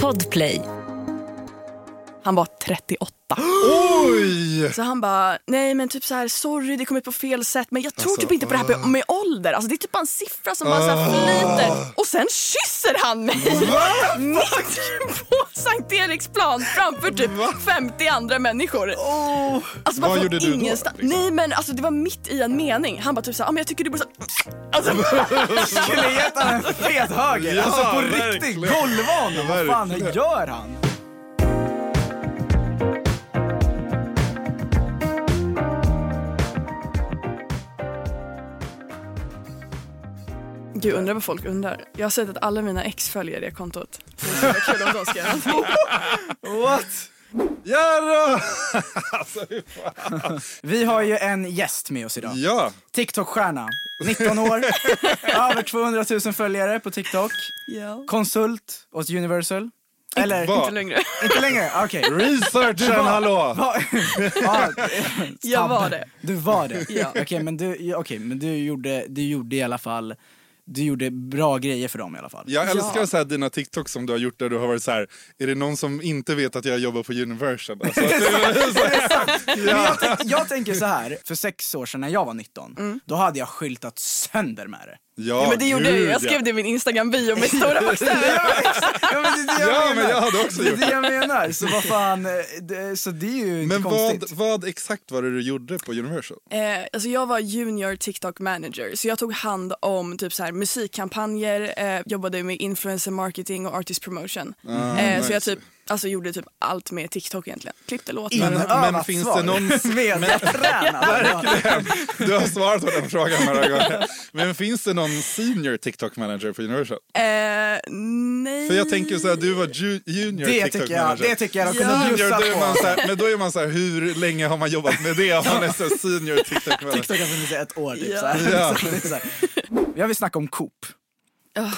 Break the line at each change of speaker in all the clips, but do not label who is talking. Podplay. Han var 38.
Oj!
Så han bara, nej men typ så här, sorry det kom ut på fel sätt men jag tror
Alltså, Ah.
typ inte på det här med ålder. Alltså det är typ bara en siffra som bara så här flyter. Och sen kysser han mig! Mitt på Sankt Eriksplan framför typ 50 andra människor.
Oh.
Alltså bara
Vad
från
gjorde du då,
ingenstans.
liksom?
Nej men alltså det var mitt i en mening. Han bara typ så här, ah, men jag tycker du borde så här, alltså,
Skulle gett han en fet höger.
Ja,
alltså på riktigt.
verkligen.
Golva honom. Vad fan
Verkligen.
gör han?
Gud undrar vad folk undrar. Jag har sett att alla mina ex följer det kontot. Det är kul om de ska göra någonting.
What?
Jadå!
Vi har ju en gäst med oss idag.
Ja,
TikTok-stjärna. 19 år. över 200 000 följare på TikTok.
Ja.
Konsult åt Universal. Eller?
vad?
Inte längre.
Inte längre? Okej.
researchen hallå!
Va- ja,
Jag var det.
Du var det?
Ja.
Okej, men, du, ja, okej, men du, gjorde, du gjorde i alla fall du gjorde bra grejer för dem i alla fall.
Jag älskar
Ja.
så här dina TikToks som du har gjort där du har varit så här. Är det någon som inte vet att jag jobbar på Universal? Alltså, att det- så här,
Jag, tänk, jag tänker så här, för sex år sedan när jag var 19,
Mm.
då hade jag skyltat sönder med det.
ja,
Ja, men det gjorde jag ju.
gud,
Jag skrev
ja.
det i min Instagram-bio med stora bokstäver.
Ja, exakt. ja, men det är det jag
Ja, men
menar.
jag hade också
Det är
gjort
det jag menar, så vad fan, eh, det, så det är ju
Men
inte
vad,
konstigt.
vad exakt var det du gjorde på Universal?
Eh, alltså jag var junior TikTok manager så jag tog hand om typ så här, musikkampanjer, eh, jobbade med influencer marketing och artist promotion.
Ah,
eh,
nice.
Så jag typ, alltså, gjorde typ allt med TikTok egentligen. Klippte låtar.
Men-
Inövat
men finns det
svar.
någon-
Mediatränad.
typ-
Du har svarat på den frågan några gånger. Men finns det någon senior TikTok manager på Universal?
Eh, nej.
För jag tänker så här, du var ju, junior
Det
TikTok
tycker jag,
manager.
det tycker jag de kunde
Ja.
Junior,
bjussa
då är man
på.
så här, men då är man så här, hur länge har man jobbat med det? Om man är så här senior TikTok manager.
TikTok har funnits i ett år typ.
Ja.
Så här.
Ja.
Så det är så här. Jag vill snacka om Coop.
Aha,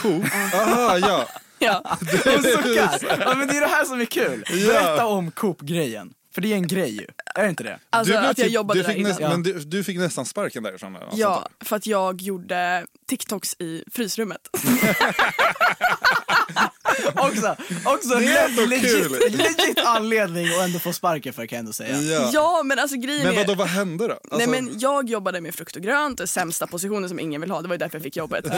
ja.
Alltså, Ja.
Hon suckar. Ja, men det är det här som är kul.
Ja.
Berätta om Coop-grejen. För det är en grej ju. Är det inte det?
Alltså
blev
att jag
typ-
jobbade
du
där
fick
innan.
näst, Men du, du fick nästan sparken därifrån. alltså. eller något
Ja,
sånt där.
för att jag gjorde TikToks i frysrummet.
Också, också
Det är ändå kul.
legit, legit anledning att ändå få sparken för kan jag ändå säga.
Ja.
ja, men alltså grejen
Men
är...
vadå, vad hände då? Alltså,
Nej, men jag jobbade med frukt och grönt, den sämsta positionen som ingen vill ha. Det var ju därför jag fick jobbet. Eh,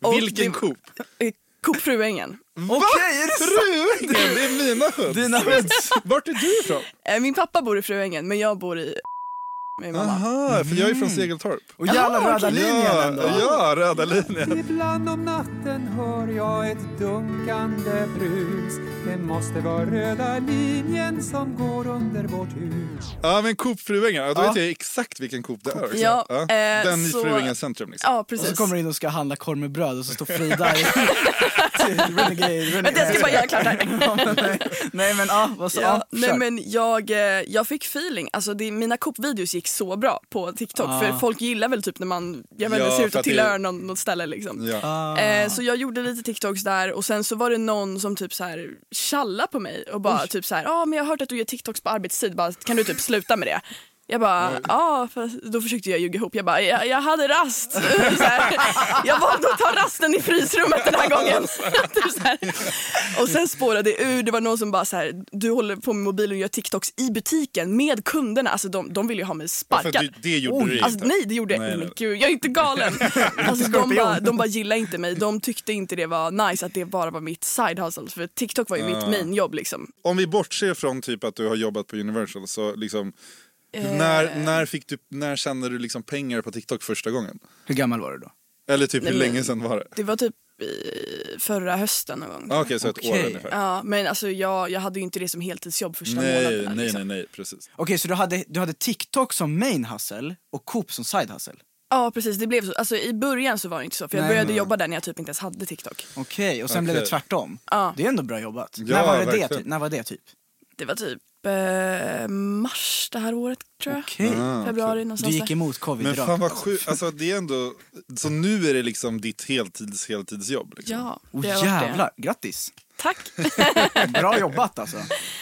och
vilken
det-
Coop?
Eh, Coop Fruängen.
Okej, är det sant?
Fruängen, det är mina hoods.
Dina hoods.
Vart är du ifrån?
Eh, Min pappa bor i Fruängen men jag bor i med mamma.
Aha, för jag är
mm.
från Segeltorp.
Och jävla
Jaha,
röda
okej.
linjen
Ja,
ändå.
ja, röda linjen.
Ibland om natten hör jag ett dunkande brus. Det måste vara röda linjen som går under vårt hus.
Ja, men Coop Fruängen. Ja, då
Ja.
vet jag exakt vilken Coop det är. också.
Ja, eh,
Den i
så-
Fruängens centrum. Liksom.
Ja
Och
precis.
så kommer du in och ska handla korv med bröd och så står Frida i... till Renegade, renegade.
Vänta, jag ska bara göra klart det här.
Ja, men nej. nej men ja, vad så?
Ja,
Ja,
nej
kör.
men jag, eh, jag fick feeling, alltså det, mina Coop-videos gick så bra på TikTok
Ah.
för folk gillar väl typ när man jag vet,
Ja,
inte, ser ut
för
att
att det-
tillhöra någon, något ställe liksom.
Ja.
Ah.
Eh, så jag gjorde lite TikToks där och sen så var det någon som typ så här tjallade på mig och bara typ så här, ja ah, men jag har hört att du gör TikToks på arbetstid, bara, kan du typ sluta med det? Jag bara, ja, ah, fast- då försökte jag ljuga ihop. Jag bara, jag, jag hade rast. så här, jag valde att ta rasten i frysrummet den här gången. typ så här. Och sen spårade det ur. Det var någon som bara så här, du håller på med mobilen och gör TikToks i butiken med kunderna. Alltså de, de vill ju ha mig
För
sparkad.
det, det gjorde du ju
Alltså,
inte.
nej det gjorde jag
Nej,
inte.
nej.
Men Gud, jag är inte galen. Alltså, de,
Skorpion.
bara, de bara gillade inte mig. De tyckte inte det var nice att det bara var mitt side hustle. För TikTok var ju mitt
Ah.
mainjobb liksom.
Om vi bortser från typ att du har jobbat på Universal, så liksom,
Eh.
när, när, fick du, när kände du liksom pengar på TikTok första gången?
Hur gammal var du då?
Eller typ
Nej,
hur
men-
länge sedan var det?
Det var typ eh, förra hösten någon gång.
Ah, Okej, så ett
Okej.
år ungefär.
Ja, men alltså jag, jag hade ju inte det som heltidsjobb första
Nej,
månaden.
nej,
liksom.
nej, nej, precis.
Okej, så du hade, du hade TikTok som main hustle och Coop som side hustle?
Ja precis, det blev så. Alltså, I början så var det inte så. För jag
Nej,
började
nej.
jobba där när jag typ inte ens hade TikTok.
Okej, och sen blev det
Okej.
tvärtom.
Ja.
Det är ändå bra jobbat.
Ja,
när, var det det,
verkligen.
typ? när var det typ?
Det var typ eh, mars det här året tror jag.
Okej.
Ah,
Februari
Du
någonstans
gick
där.
emot covid
Men
rakt
fan vad
av.
sjukt, alltså det är ändå, så nu är det liksom ditt heltids heltidsjobb. Liksom.
Ja,
Oh,
det har varit det.
jävlar, grattis!
Tack.
Bra jobbat alltså.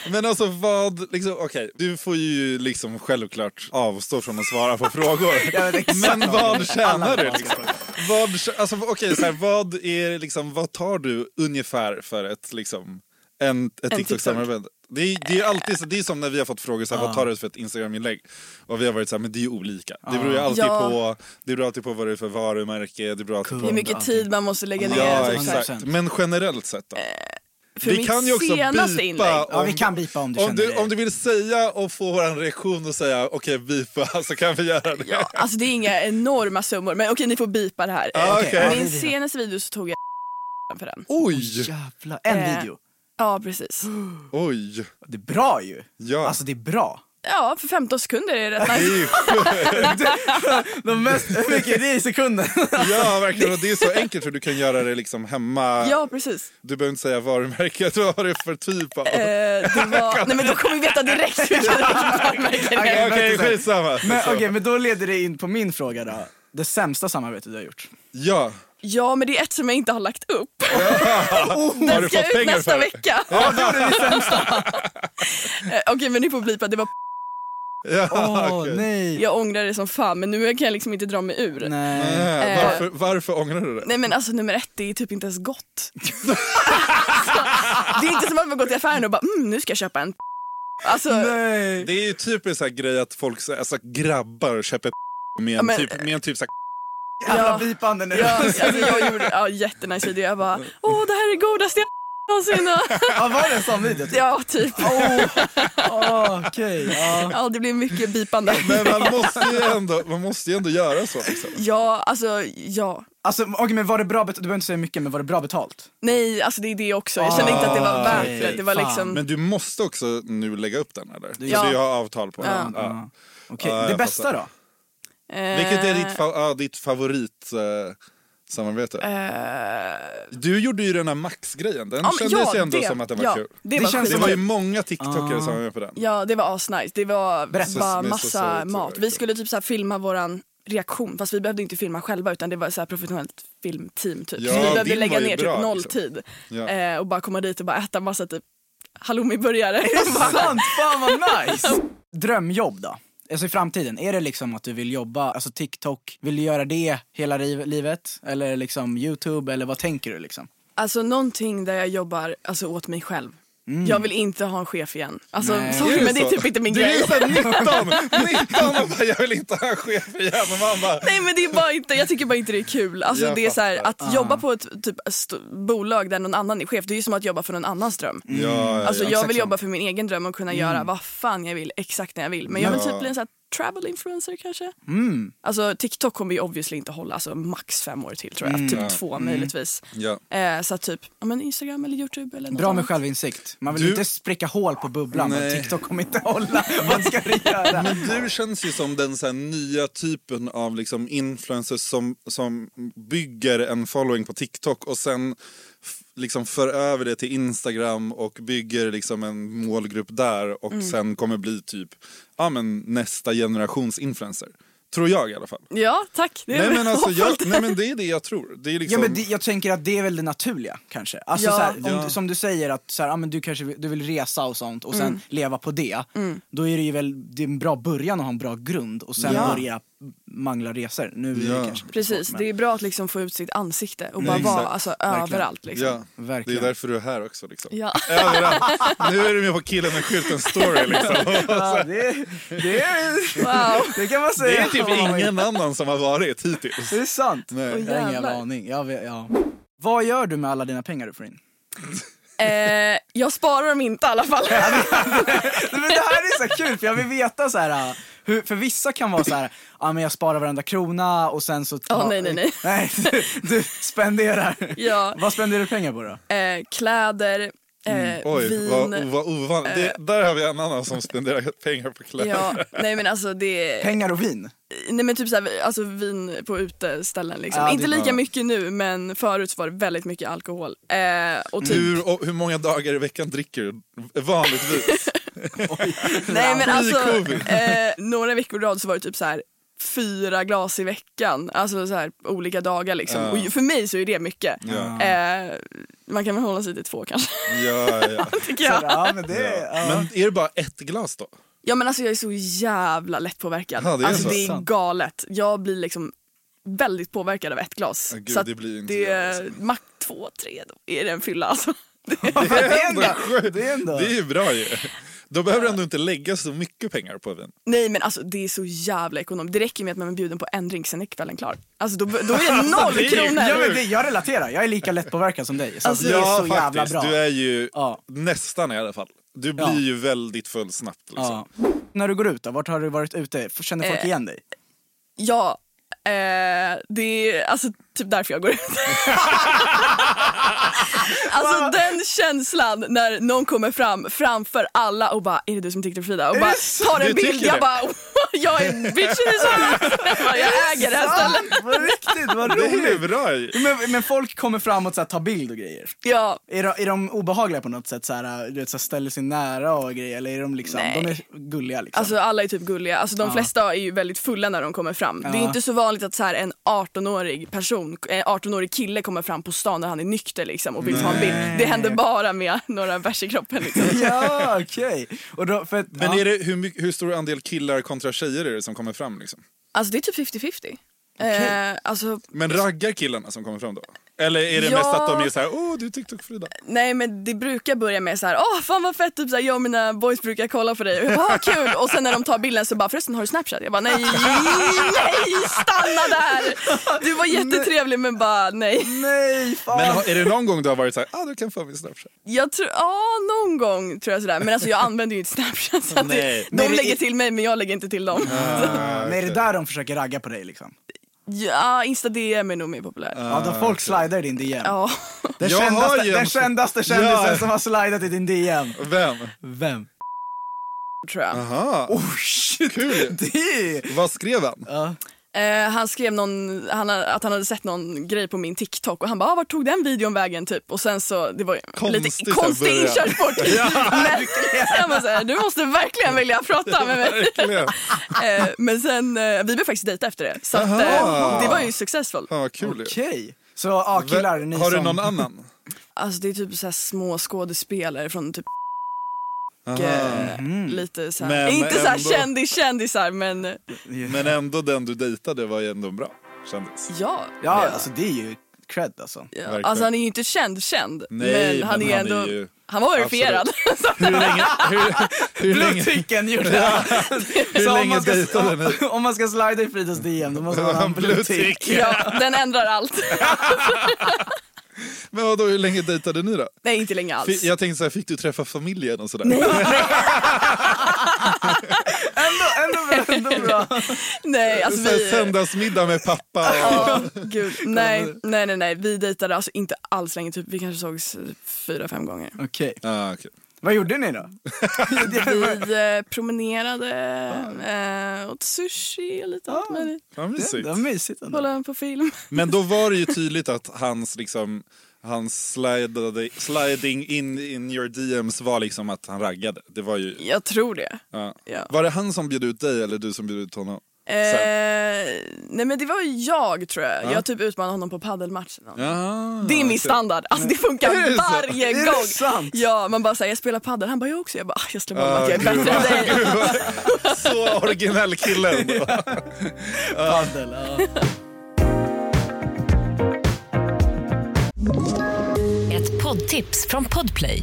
Men alltså vad, liksom, okej, du får ju liksom självklart avstå från att svara på frågor.
Jag vet exakt
Men vad
Alla
tjänar du?
bra.
Liksom? vad, alltså, okej, så här, vad, är, liksom, vad tar du ungefär för ett, liksom, en, ett TikTok-samarbete? Det är, det är alltid så, det är som när vi har fått frågor så här, vad tar du för ett Instagram-inlägg? Och vi har varit så här, men det är ju olika. Det beror ju alltid
Ja.
på, det beror alltid på vad det är för varumärke, det beror alltid
Hur
på...
Kund.
mycket tid man måste lägga ner.
Ja,
typ så här. Eh,
exakt. Men generellt sett då?
För mitt senaste inlägg.
Ja, vi kan bipa om du
om
känner
du,
dig.
om du vill säga och få vår reaktion och säga okej bipa så kan vi göra det.
Ja, alltså det är inga enorma summor, men okej ni får bipa det här.
Ja,
Eh,
okej.
Ja, det är
Min
det.
senaste video så tog jag för den.
Oj!
Jävlar, en
Eh.
video.
Ja, precis.
Oj!
Det är bra ju.
Ja.
Alltså det är bra.
Ja, för 15 sekunder är det rätt
Det
nice.
är ju sjukt.
De mest, hur mycket det är i sekunden?
Ja, verkligen. Och det är så enkelt för du kan göra det liksom hemma.
Ja, precis.
Du behöver inte säga varumärket, vad har du för typ av...
Eh, det var... Nej men då kommer vi veta direkt vilket varumärke det är.
Okej,
vänta, så-
skitsamma.
Men,
Så-
okej, men då leder det in på min fråga då. Det sämsta samarbetet du har gjort?
Ja,
Ja, men det är ett som jag inte har lagt upp.
har du
Den ska
fått
ut
pengar
nästa
för det?
vecka. Ja, det gjorde Okej, men ni får blipa. Det var
Ja,
Åh
okej.
nej.
jag ångrar det som fan, men nu kan jag liksom inte dra mig ur. Nej.
Nej.
Nej,
Eh.
varför, varför ångrar du det?
men alltså nummer ett, det är typ inte ens gott. alltså, det är inte som att man går till affären och bara mm, nu ska jag köpa en Alltså,
nej.
Det är ju typ en sån här grej att folk, så- alltså grabbar, köper med en
men-
typ, med en typ så här,
Jävla
Ja.
bipande nu.
ja, alltså jag gjorde ja, jättenice video. Jag bara åh det här är godaste jag någonsin har-"
Ja, var det en sån video?
Ja, typ.
Åh, Okej. Ja.
Ja, det blir mycket bipande.
Men man måste ju ändå, man måste ju ändå göra så. Liksom.
Ja, alltså ja.
Alltså okej, men var det bra betalt? Du behöver inte säga mycket, men var det bra betalt?
Nej, alltså det är det också. Jag kände inte att det
Ah,
var värt det. Det var
Fan.
liksom...
Men du måste också nu lägga upp den eller?
Ja.
Så du har avtal på den.
Ja.
Ja.
Okej,
Ja, jag
det bästa då?
eh,
Vilket är ditt, fa- ja, ditt favorit eh, samarbete?
eh,
Du gjorde ju den här Max-grejen. Den
Ja, men
kändes
ja,
ju ändå
det-
som att den var
ja,
kul.
Det,
Det
var
känns
Det
skitkul.
var ju många tiktokare som var med på den.
Ja, det var asnice. Det var
Berätta.
bara
Men så
massa
sorgligt,
mat.
verkligen.
Vi skulle typ så här filma våran reaktion, fast vi behövde inte filma själva utan det var så här professionellt filmteam typ.
Ja,
så vi behövde
din var
lägga
ju
ner
bra,
typ noll
liksom.
tid
Ja.
eh, och bara komma dit och bara äta massa typ halloumiburgare.
Sant, fan vad nice! Drömjobb då? Alltså i framtiden, är det liksom att du vill jobba, alltså TikTok, vill du göra det hela riv- livet? Eller liksom YouTube, eller vad tänker du liksom?
alltså någonting där jag jobbar alltså, åt mig själv. Jag vill inte ha en chef igen. Alltså,
Nej.
sorry,
Mm. Är det
men det är
så?
typ inte min
Du är
grej.
ju såhär 19, 19 och bara jag vill inte ha en chef igen. Och man bara,
Nej men det är bara inte, jag tycker bara inte det är kul. Alltså,
Jag
det är så här,
fattar. Ah.
att jobba på ett typ, st- bolag där någon annan är chef, det är ju som att jobba för någon annans dröm.
ja, ja, ja.
Alltså jag
exakt
vill
så.
jobba för min egen dröm och kunna göra vad fan jag vill, exakt när jag vill. Men jag vill
Ja.
typ bli en sån här travel influencer kanske.
Mm.
Alltså TikTok kommer ju obviously inte hålla, alltså max fem år till tror jag. Typ
Mm. Ja.
två möjligtvis.
ja.
Eh, så att typ, ja men Instagram eller Youtube eller något
Bra med
annat.
självinsikt. Man vill
Du-
inte spricka hål på bubblan, men
Nej.
TikTok kommer inte hålla. Vad ska du göra?
Men du känns ju som den så här nya typen av liksom influencers som, som bygger en following på TikTok och sen f- liksom för över det till Instagram och bygger liksom en målgrupp där och sen kommer bli typ ja, men nästa generations influencer. Tror jag i alla fall.
Ja tack, det är
Nej men, alltså, jag,
hoppfullt.
nej men det är det jag tror. Det är
Ja,
liksom,
men det, jag tänker att det är väl det naturliga kanske. Alltså,
Ja.
så här, om,
Ja.
du- Som du säger, att så här, ah, men du kanske vill, du vill resa och sånt och sen
Mm.
leva på det. Då är det ju väl det är en bra början att ha en bra grund och sen
Ja.
börja mangla resor. Nu är
Ja.
det kanske lite
Precis,
svårt,
det är bra att liksom få ut sitt ansikte och
Nej,
bara vara
exakt.
alltså,
Verkligen.
överallt liksom.
ja, det är
Verkligen.
därför du är här också. Liksom.
Ja.
Överallt. Nu är du med på killen med skylten story. Liksom.
men- Ja, det, det, är-
Wow.
det kan man
Det
säga.
är typ ingen annan som har varit hittills.
Det är sant.
Nej.
Oj.
Jag har ingen jävla
Jävlar.
aning. Jag vet, ja. Vad gör du med alla dina pengar du får in?
Eh, jag sparar dem inte i alla fall.
Nej, men det här är så här kul för jag vill veta så här, äh, hur, för vissa kan vara så här, ja men jag sparar varenda krona och sen så...
Åh, nej, nej, nej.
nej du, du spenderar.
Ja.
Vad spenderar du pengar på då?
Eh, kläder, eh,
Mm. Oj,
vin.
vad, vad ovanligt. Det,
Eh.
där har vi en annan som spenderar pengar på kläder.
Ja, nej men alltså det
Pengar och vin?
nej men typ såhär, alltså vin på uteställen liksom.
Ja, det-
Inte lika
ja.
mycket nu men förut var det väldigt mycket alkohol. Eh, och typ,
Hur, och hur många dagar i veckan dricker du vanligtvis?
nej men alltså
pre-covid.
eh, några veckor i rad så var det typ så här fyra glas i veckan, alltså så här olika dagar liksom.
Ja.
Och ju- för mig så är det mycket.
Ja.
Eh, man kan väl hålla sig till två kanske,
Ja, ja.
tycker
Ja,
jag.
men det
Ja.
ja.
Men är det bara ett glas då?
Ja men alltså jag är så jävla lättpåverkad.
Ja, det är
alltså
så.
det är
Sant.
galet. Jag blir liksom väldigt påverkad av ett glas.
Ja, gud,
så att
det blir inte alltså.
det
jag,
är mack två, tre då är det en fylla alltså. Det
Det är
ändå
ändå...
sjukt.
Det är ändå...
Det är ju bra ju. De behöver ändå inte lägga så mycket pengar på vin.
Nej men alltså det är så jävla ekonomiskt. Det räcker med att man är bjuden på en drink, sen är kvällen klar. Alltså då, då är det
Det är
noll
ju-
kronor!
Ja, men det, jag relaterar, jag är lika lättpåverkad som dig. Så alltså, det är så jävla bra.
Du är ju
Ja.
nästan i alla fall. Du blir
Ja.
ju väldigt full snabbt. Liksom.
ja. När du går ut då, vart har du varit ute? Känner folk
Eh.
igen dig?
Ja, eh, det är alltså typ därför jag går ut. alltså den känslan när någon kommer fram framför alla och bara är det du som tittar på Frida? Och bara
det
tar en
sant? Du
bild.
tycker
Jag
det?
bara jag är bitch i det Jag, bara, jag äger det här stället.
Vad riktigt, vad
Det är ju
roligt.
bra ju.
Men, men folk kommer fram och så här, tar bild och grejer.
Ja,
Är de, är de obehagliga på något sätt? Så här, du vet, så här, ställer sig nära och grejer? Eller är de liksom,
Nej.
de är gulliga liksom?
alltså alla är typ gulliga. Alltså de flesta är ju väldigt fulla när de kommer fram. Det är
Ja.
inte så vanligt att så här en 18-årig person, eh, 18-årig kille kommer fram på stan när han är nykter liksom och vill ta en bild. Det händer bara med några bärs i kroppen liksom.
ja, okej. Och då, för att-
Men
ja.
är det, hur, mycket- hur stor andel killar kontra tjejer är det som kommer fram? Liksom?
Alltså det är typ 50-50.
Okej.
Eh, alltså,
Men raggar killarna som kommer fram då? Eller är det
Ja.
mest att de är så här, åh du är TikTok-Frida?
nej men det brukar börja med så här, åh fan vad fett, typ så här, jag och mina boys brukar kolla på dig. Och jag bara, "Ah, kul! Och sen när de tar bilden så bara, förresten har du Snapchat? Jag bara, nej, nej, stanna där! Du var jättetrevlig men bara nej.
Nej, fan.
Men har- är det någon gång du har varit så här, ah du kan få min Snapchat?
Jag tror, ja någon gång tror jag sådär. Men alltså jag använder ju inte Snapchat så att det,
Nej.
de
Men det-
lägger till mig men jag lägger inte till dem.
Ah, Men är det där de försöker ragga på dig liksom?
Ja, Insta-DM är nog mer populär.
Ja,
Ah,
de folk slidar i din DM.
Ja.
Den,
Jag har
kändaste,
ju en-
den kändaste kändisen
Ja.
som har slidat i din DM.
Vem?
Vem?
tror jag.
Aha.
Oh shit!
Kul.
Det!
Vad skrev han?
Ja.
Eh, han skrev någon, han, ha- att han hade sett någon grej på min TikTok och han bara ah, “vart tog den videon vägen?” typ. Och sen så, det var ju
Konstigt
lite konstig
att börja.
inkörsport. men, jag bara så här, du måste verkligen vilja prata med mig.
Verkligen.
Eh, men sen, eh, vi blev faktiskt dejta efter det. Så att, eh,
Aha.
det var ju successful.
Fan vad kul ju.
Okej. Så ja, killar, ni
Har du
som...
någon annan?
Alltså det är typ så här små skådespelare från typ
Aha.
eh, lite så här,
Ah. Men
inte så här
ändå.
kändis-kändisar men
Men ändå den du dejtade var ju ändå en bra kändis.
ja.
Ja, alltså det är ju cred alltså.
ja.
verkligen.
Alltså han är ju inte känd-känd
Nej,
men han
men
är
han är
ändå,
ju-
han var verifierad.
Hur länge, hur, hur länge,
Blodticken gjorde det! Så om
länge
man, ska,
dejtade
om,
ni?
om man ska slida i Fridas DM då måste man ha en blodtick.
Ja, den ändrar allt.
Men vadå, hur länge dejtade ni då?
Nej, inte länge
Fi-
alls.
Jag tänkte så här, fick du träffa familjen och sådär?
Ändå, ändå, ändå bra.
Nej, alltså
så här,
vi...
söndagsmiddag med pappa och...
Ja, gud. Nej, nej, nej, nej. Vi dejtade alltså inte alls länge. Typ, vi kanske sågs eh, fyra, fem gånger.
Okej,
Ah, okej.
vad gjorde ni då?
Vi eh, promenerade,
Ah.
eh, åt sushi och lite allt möjligt.
Vad
Det
mysigt.
var mysigt ändå.
Kollade på film.
Men då var det ju tydligt att hans liksom han slidade, sliding in in your DMs var liksom att han raggade. Det var ju...
Jag tror det.
Ja.
Ja.
Var det han som bjöd ut dig eller du som bjöd ut honom?
Eh, nej men det var ju jag tror jag. Jag typ utmanade honom på padelmatchen.
Ja,
Det är min
Ah, okej.
standard. Alltså det funkar
Är det så?
varje
Är det
gång.
sant?
Ja, man bara säger jag spelar padel. Han bara jag också. Jag bara "Ah, jag slår bara
Ah,
att jag är
gud,
bättre än
vad-
dig.
gud, vad- Så originell kille ändå.
Padel, ja.
Ett poddtips från Podplay.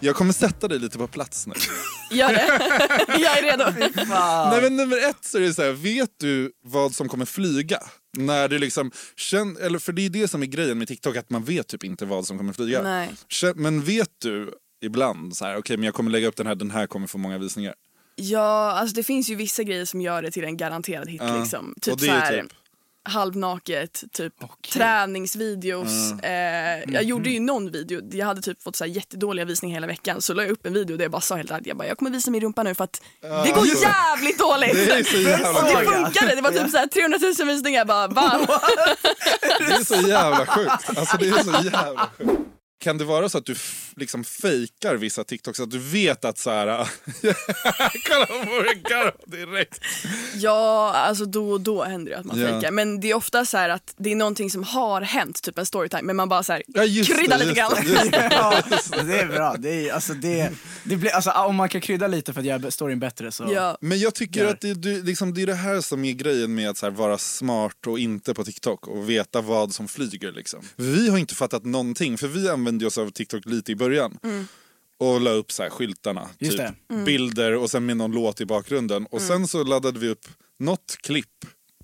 Jag kommer sätta dig lite på plats nu.
Gör det. Jag är redo.
Nej, men nummer ett så är det så här, vet du vad som kommer flyga? När du liksom känn, eller för det är det som är grejen med TikTok, att man vet typ inte vad som kommer flyga.
Nej.
Känn- Men vet du ibland så här, okej men jag kommer lägga upp den här, den här kommer få många visningar.
Ja, alltså det finns ju vissa grejer som gör det till en garanterad hit. Liksom. Typ
och det
så
är
här,
typ,
halvnaket, typ
Okej.
träningsvideos. Eh, jag gjorde ju någon video, jag hade typ fått så här jättedåliga visningar hela veckan så la jag upp en video där jag bara sa helt ärligt, jag bara jag kommer visa min rumpa nu för att det går
just det.
jävligt dåligt.
Det är så jävla
Och det
sjukt.
funkade, det var typ så här 300 000 visningar, jag bara va?
Det är så jävla sjukt. Alltså, det är så jävla sjukt. Kan det vara så att du f- liksom fejkar vissa TikToks? Att du vet att så här... Kolla på det garv direkt.
Ja, alltså då och då händer det att man
Ja.
fejkar. Men det är ofta så här att det är någonting som har hänt, typ en storytime, men man bara så här
Ja, just det,
kryddar lite
just
grann.
det, just det.
Ja, det är bra. Det är, alltså, det, det blir, alltså, om man kan krydda lite för att göra storyn bättre så...
Ja.
Men jag tycker
Där.
att det, du, liksom, det är det här som är grejen med att så här, vara smart och inte på TikTok och veta vad som flyger. Liksom. Vi har inte fattat någonting, för vi använde oss av TikTok lite i början. Och la upp så här, skyltarna,
Just
typ,
det.
bilder och sen med någon låt i bakgrunden. Och sen så laddade vi upp något klipp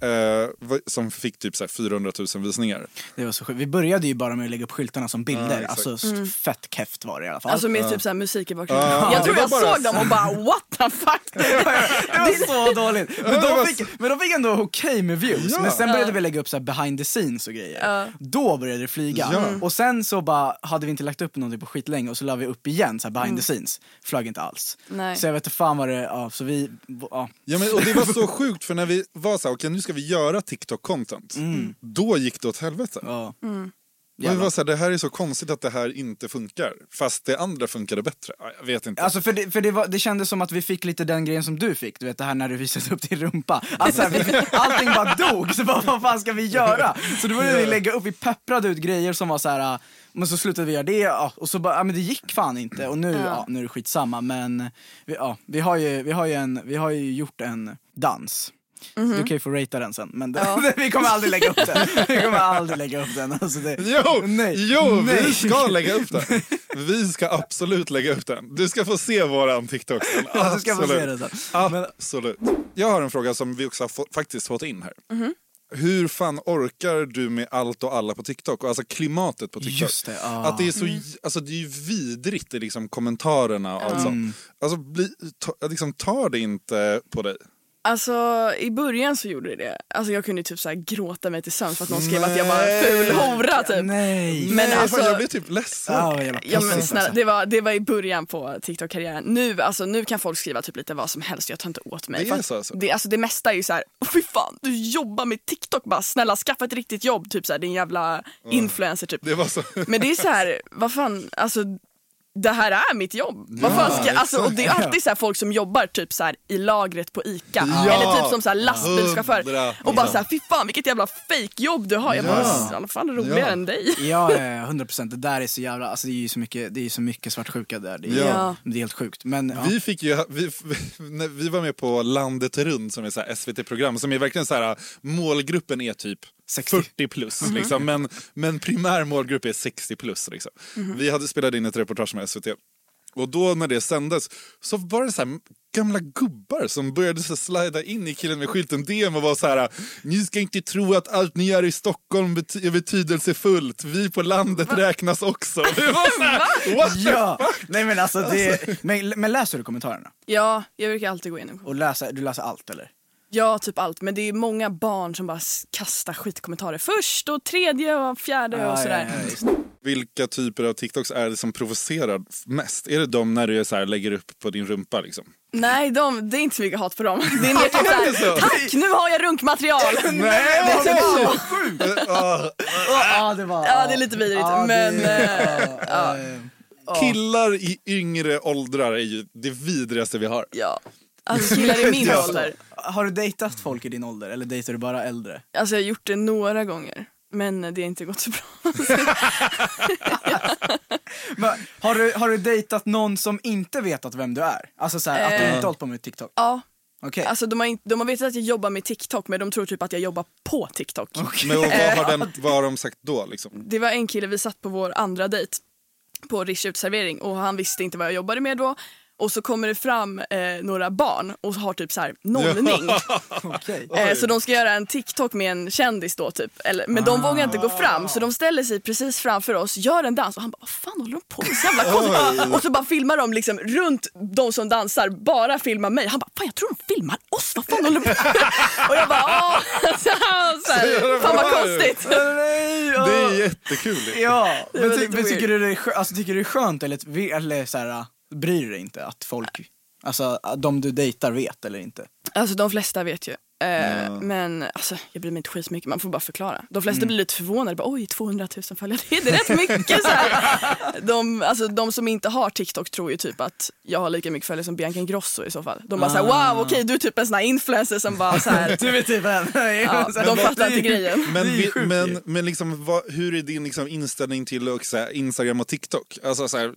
eh, vad- som fick typ så här, 400 000 visningar.
Det var så sjukt. Vi började ju bara med att lägga upp skyltarna som bilder.
exakt.
alltså s-
Mm.
fett keft var det i alla fall.
Alltså med typ så här musik i bakgrunden.
Ja,
jag
det
tror
var
jag
bara-
såg dem och bara what the fuck.
det var så dåligt. Men
det var
de fick, men de fick ändå okej med views.
Ja.
Men sen började vi lägga upp så här behind the scenes och grejer. Då började det flyga.
Ja. Mm.
Och sen så bara hade vi inte lagt upp någonting på skitlänge och så la vi upp igen så här
Mm.
behind the scenes. Flög inte alls.
Nej.
Så jag vet inte fan vad det, ja, så vi, ja.
Ja, men, och det var så sjukt, för när vi var så här, okej nu ska vi göra TikTok-content,
Mm.
då gick det åt helvete.
ja.
Mm. Och vi var så här, det här är så konstigt att det här inte funkar. Fast det andra funkade bättre. Ja, Jag vet inte.
Alltså för det, för det, var, det kändes som att vi fick lite den grejen som du fick, du vet det här när du visade upp din rumpa. Alltså, här, vi, allting bara dog, så bara, vad fan ska vi göra? Så då började vi lägga upp, vi pepprade ut grejer som var så här. äh, men så slutade vi göra det ja, och så bara, ja, men det gick fan inte och nu, ja. nu är det skitsamma men vi, ja, vi, har ju, vi, har ju en, vi har ju gjort en dans.
Mhm.
Du kan ju få ratea den sen men det, vi kommer aldrig lägga upp den. Vi kommer aldrig lägga upp den. Alltså det,
Jo,
nej,
jo vi
nej.
ska lägga upp den. Vi ska absolut lägga upp den. Du ska få se våran TikTok sen.
Ja, du ska få se
Absolut.
det sen.
Absolut. Jag har en fråga som vi också har fått, faktiskt fått in här.
Mhm.
Hur fan orkar du med allt och alla på TikTok? Och alltså klimatet på TikTok.
Just det, ah.
Att det är så, alltså det är ju vidrigt i liksom kommentarerna och allt
Mm.
sånt. Alltså bli, ta, liksom, tar det inte på dig?
Alltså i början så gjorde det det. Alltså jag kunde typ så här gråta mig till sömns för att någon skrev att jag var en ful hora typ.
Nej.
Men
Nej,
alltså-
fan, jag blir typ ledsen.
Ja, vad jävla
Ja, men
pussigt,
snälla,
alltså.
det, var, det var i början på TikTok-karriären. Nu, alltså, nu kan folk skriva typ lite vad som helst, jag tar inte åt mig.
Det är
För att
så alltså?
Det, alltså, det mesta är ju så här, "Åh, fy fan, du jobbar med TikTok bara, snälla skaffa ett riktigt jobb, typ så här, din jävla influencer typ.
Det var så.
Men det är så här, vad fan, alltså det här är mitt jobb. Vad fan ska, alltså, och det är alltid så här folk som jobbar typ så här, i lagret på ICA
Ja.
eller typ som så här lastbilschaufför
Hundra
och bara
procent.
så här, fy fan vilket jävla fejkjobb du har. Jag bara,
Ja.
i alla fall roligare
Ja.
än dig.
Ja, ja, ja, 100 procent. Det där är så jävla, alltså det är ju så mycket, det är ju så mycket svartsjuka där. Det är,
Ja.
det är helt sjukt. Men ja.
Vi, fick ju, vi, när vi var med på Landet runt som är så här SVT-program som är verkligen så här målgruppen är typ
60.
40 plus
Mm-hmm.
liksom, men, men primär målgrupp är 60 plus liksom.
Mm-hmm.
Vi hade spelat in ett reportage med SVT och då när det sändes så var det så här gamla gubbar som började så här slida in i killen med skylten DM och var så här ni ska inte tro att allt ni gör i Stockholm bety- är betydelsefullt, vi på landet räknas också. Det var så här, what the
ja. Nej men alltså det, men, men läser du kommentarerna?
Ja, jag brukar alltid gå igenom
Och läser, du läser allt eller?
Ja, typ allt. Men det är många barn som bara s- kastar skitkommentarer först och tredje och fjärde och sådär.
Ja, ja, ja, just.
Vilka typer av TikToks är det som provocerar mest? Är det de när du är så här, lägger upp på din rumpa? Liksom?
Nej, de, det är inte så mycket hat på dem. Det är mer typ såhär, tack nu har jag runkmaterial.
Nej, vad
det är
bra!
typ,
Eh, ah, Ja, det var,
ja, det är lite vidrigt.
Ja, det-
men eh,
ja, ah.
Killar i yngre åldrar är ju det vidrigaste vi har.
ja, alltså killar i min
ja.
ålder.
Har du dejtat folk i din ålder eller dejtar du bara äldre?
Alltså jag har gjort det några gånger. Men det har inte gått så bra.
Men, har, du, har du dejtat någon som inte vetat vem du är? Alltså såhär, att du inte hållit på med TikTok?
Ja,
Okej.
Eh. alltså de har, inte, de har vetat att jag jobbar med TikTok men de tror typ att jag jobbar på TikTok.
Men vad, har den, vad har de sagt då? Liksom?
det var en kille vi satt på vår andra dejt på Rish uteservering och han visste inte vad jag jobbade med då och så kommer det fram eh, några barn och har typ så här nollning.
Okej.
Eh, så de ska göra en TikTok med en kändis då typ. Eller, men de vågar inte gå fram så de ställer sig precis framför oss, gör en dans och han bara vad fan håller de på med? Så jävla konstigt. och så bara filmar de liksom runt de som dansar, bara filmar mig. Han bara fan jag tror de filmar oss, vad fan håller de på med? och jag bara åh, så här, så här, fan vad konstigt.
Nej, ja.
Det är jättekul.
Ja, men,
var
ty,
lite
men tycker,
weird.
du det är skö- alltså, tycker du det är skönt eller, vi- eller så här, bryr du dig inte att folk, alltså att de du dejtar vet eller inte?
Alltså de flesta vet ju. Eh, Men alltså, jag bryr mig inte skitmycket, man får bara förklara. De flesta blir lite förvånade, bara, oj 200 000 följare, det är rätt mycket. Så här. De, alltså, de som inte har TikTok tror ju typ att jag har lika mycket följare som Bianca Ingrosso i så fall. De bara såhär, wow okej du är typ en sån här influencer som bara såhär,
Du är typ en.
ja, de fattar inte grejen.
Men,
Det är ju
vi,
sjukt ju.
men, men liksom, vad, hur är din liksom, inställning till och, så här, Instagram och TikTok? Alltså, så här,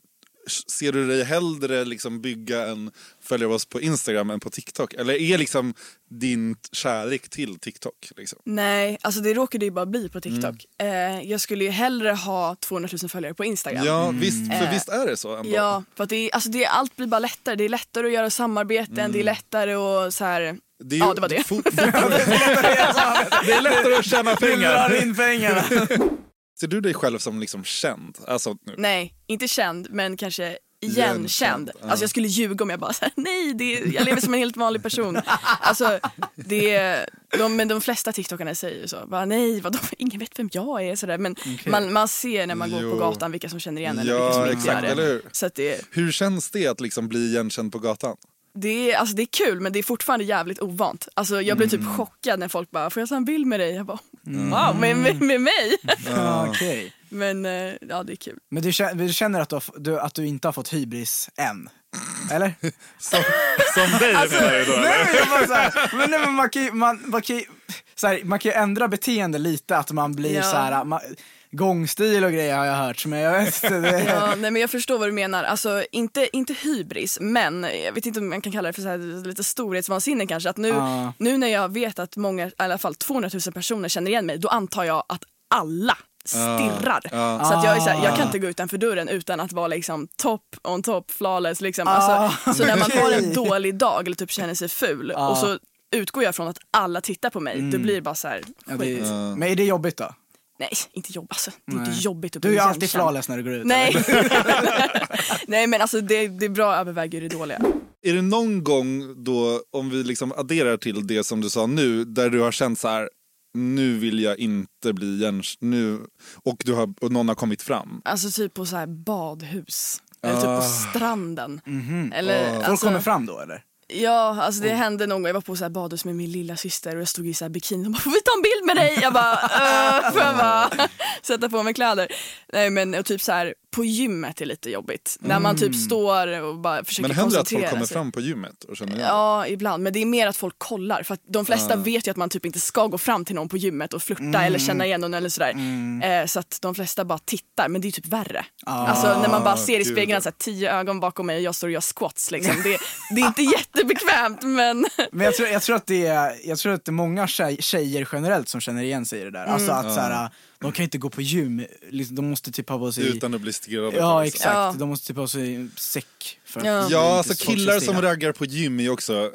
ser du dig hellre liksom, bygga en följa oss på Instagram än på TikTok? Eller är liksom din t- kärlek till TikTok? Liksom?
Nej, alltså det råkade ju bara bli på TikTok. Eh, jag skulle ju hellre ha 200 000 följare på Instagram.
Ja, visst, för
Eh,
visst är det så ändå?
Ja, för att det, är- alltså det, är- allt blir bara lättare. Det är lättare att göra samarbeten, det är lättare att så här,
är
ja, det var det.
fo- det är lättare att tjäna pengar.
Drar in pengarna.
Ser du dig själv som liksom känd? Alltså, nu.
Nej, inte känd, men kanske
Igenkänd,
igenkänd.
ja.
Alltså jag skulle ljuga om jag bara såhär, nej, det är, jag lever som en helt vanlig person. Alltså, det är, de, men de flesta TikTokarna säger ju så, bara, nej, vadå, ingen vet vem jag är. Sådär. Men man, man ser när man går
Jo.
på gatan vilka som känner igen en och vilka
Ja,
som inte
exakt.
gör
Eller
det.
hur?
Så att det,
Hur känns det att liksom bli igenkänd på gatan?
det, är, alltså det är kul, men det är fortfarande jävligt ovant. Alltså jag blir
Mm.
typ chockad när folk bara, får jag ta en bild med dig? Jag bara, wow, med, med, med mig?
Ja, okej.
men eh, ja, det är kul.
Men du känner, du känner att, du har, f- du, att du inte har fått hybris än? Eller?
Som, som dig
Alltså-
menar du då? eller?
Nej men jag bara såhär, men, nej, men man kan ju, man, man kan ju, så här, man kan ju ändra beteende lite att man blir
Ja.
så här, man, gångstil och grejer har jag hört men jag vet inte. Det,
Ja, nej, men jag förstår vad du menar. Alltså, inte, inte hybris, men jag vet inte om man kan kalla det för så här, lite storhetsvansinne kanske. Att nu,
Ja.
nu när jag vet att många, i alla fall 200 000 personer känner igen mig, då antar jag att alla stirrar. Så att jag, är så här, jag
Ah.
kan inte gå utanför dörren utan att vara liksom top on top, flawless. Liksom.
Ah.
Alltså, så när man har en dålig dag eller typ känner sig ful och så utgår jag från att alla tittar på mig, då blir det bara så här,
Mm. Ja,
skit.
det, Men är det jobbigt då?
Nej, inte jobb, alltså, det är inte jobbigt att
Du är
bli
ju alltid
igenkänd.
flawless när du går ut.
Nej. Nej men alltså det, det är bra överväger det dåliga.
Är det någon gång då, om vi liksom adderar till det som du sa nu, där du har känt så här, nu vill jag inte bli igenkänd, nu, och, du har, och någon har kommit fram?
Alltså typ på så här badhus. Eller
Ah.
typ på stranden.
Mhm.
Eller,
Folk
alltså,
kommer fram då eller?
ja, alltså det
Oh.
hände någon gång. Jag var på så här badhus med min lilla syster och jag stod i så här bikini. De bara, får vi ta en bild med dig? Jag bara, "Äh, får jag bara sätta på mig kläder? Nej men och typ så här på gymmet är lite jobbigt. När man typ står och bara försöker
Mm. Men händer det att folk
koncentrera
kommer
sig.
fram på gymmet och känner igen dig?
Ja, ibland. Men det är mer att folk kollar. För att de flesta vet ju att man typ inte ska gå fram till någon på gymmet och flirta
Mm.
eller känna igen någon eller sådär. Eh, så att de flesta bara tittar. Men det är typ värre. alltså när man bara ser i
Ah, gud,
spegeln
ja.
att så här, tio ögon bakom mig och jag står och gör squats liksom. Det, det är inte jättebekvämt men
Men jag tror, jag tror att det är, jag tror att det är många tjej, tjejer generellt som känner igen sig i det där. Alltså
Mm.
att så här, de kan inte gå på gym, liksom, de måste typ ha på sig
Utan att bli stirrade på,
Ja
liksom.
exakt,
Ja.
de måste typ ha på sig säck för att
Ja.
inte
Ja, alltså
folk ska
killar
stirra.
som raggar på gym är ju också,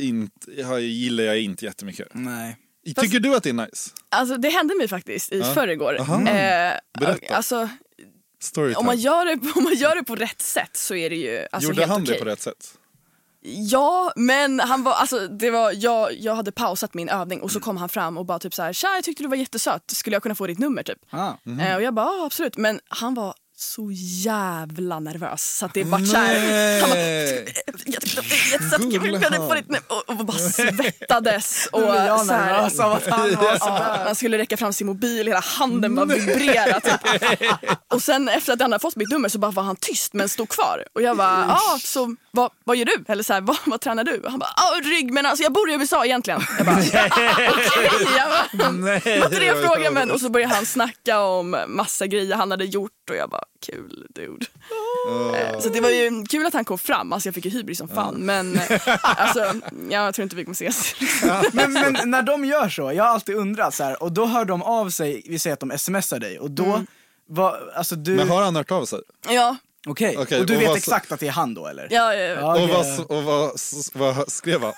inte, har- gillar jag inte jättemycket.
Nej.
Tycker du att det är nice?
alltså, det hände mig faktiskt i förrgår.
Aha.
Eh,
Berätta.
alltså,
Storytime.
om, man gör det, om man gör det på rätt sätt så är det ju alltså,
Gjorde
helt
han det
okej.
på rätt sätt?
Ja, men han var, alltså, det var, jag, jag hade pausat min övning och så kom han fram och bara typ så här, tja jag tyckte du var jättesöt, skulle jag kunna få ditt nummer typ?
Ah.
Mm.
Eh, och jag bara, "Ja, absolut, men han var så jävla nervös så att det vart såhär, han bara, jag tyckte du var jättesöt, kan vi- kan jag få ditt nummer? Och, och bara svettades och
Nu blir jag
så här,
nervös av att han var så
Ja, han skulle räcka fram sin mobil, hela handen bara vibrerade. Typ. Och sen efter att han hade fått mitt nummer så bara var han tyst men stod kvar. Och jag bara, ah, så vad, vad gör du? Eller så här, vad, vad tränar du? Och han bara, ah, rygg men alltså jag bor i USA egentligen. Jag bara, okej. Jag bara,
Nej.
vad är det jag frågar men? Och så började han snacka om massa grejer han hade gjort och jag bara, kul dude. Eh, Så det var ju kul att han kom fram, alltså jag fick ju hybris som fan men eh, alltså, jag tror inte vi kommer ses.
men, men när de gör så, jag har alltid undrat så här, och då hör de
Mm.
av sig, vi säger att de smsar dig och då, vad, alltså du,
Men har han hört av sig?
Ja,
Okej,
Okej,
och du
och
vet
vad-
exakt att det är han då eller?
Ja, ja, ja.
okej.
Och, vad, och vad, s- vad skrev han?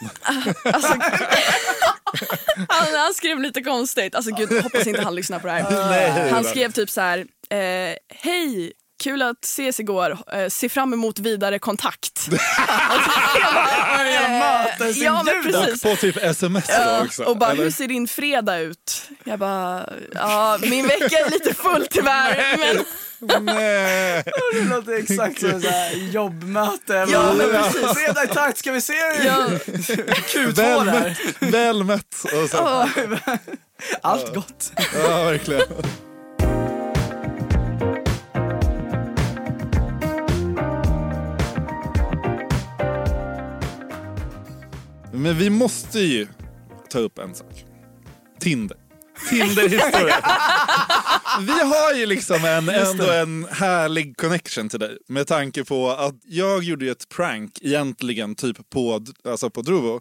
Han, han skrev lite konstigt. Alltså gud, jag hoppas inte han lyssnar på det här.
Nej,
Han skrev typ så här. Eh, Hej, kul att ses igår. Eh, se fram emot vidare kontakt. Och så- jag bara, eh, ja, men precis.
På typ sms då också?
Och bara,
eller?
hur ser din fredag ut? Jag bara, ja min vecka är lite full tyvärr. Men,
Nej.
Det låter exakt som ett så här jobbmöte.
Ja, men
precis. Fredag i takt, ska vi se hur
ja,
Q2
Väl
där?
mött, väl mött. Och så,
åh.
Allt gott.
Ja, verkligen. Men vi måste ju ta upp en sak. Tinder. Tinder-historia. Vi har ju liksom en, ändå en härlig connection till dig med tanke på att jag gjorde ju ett prank egentligen typ på, alltså på Druvo.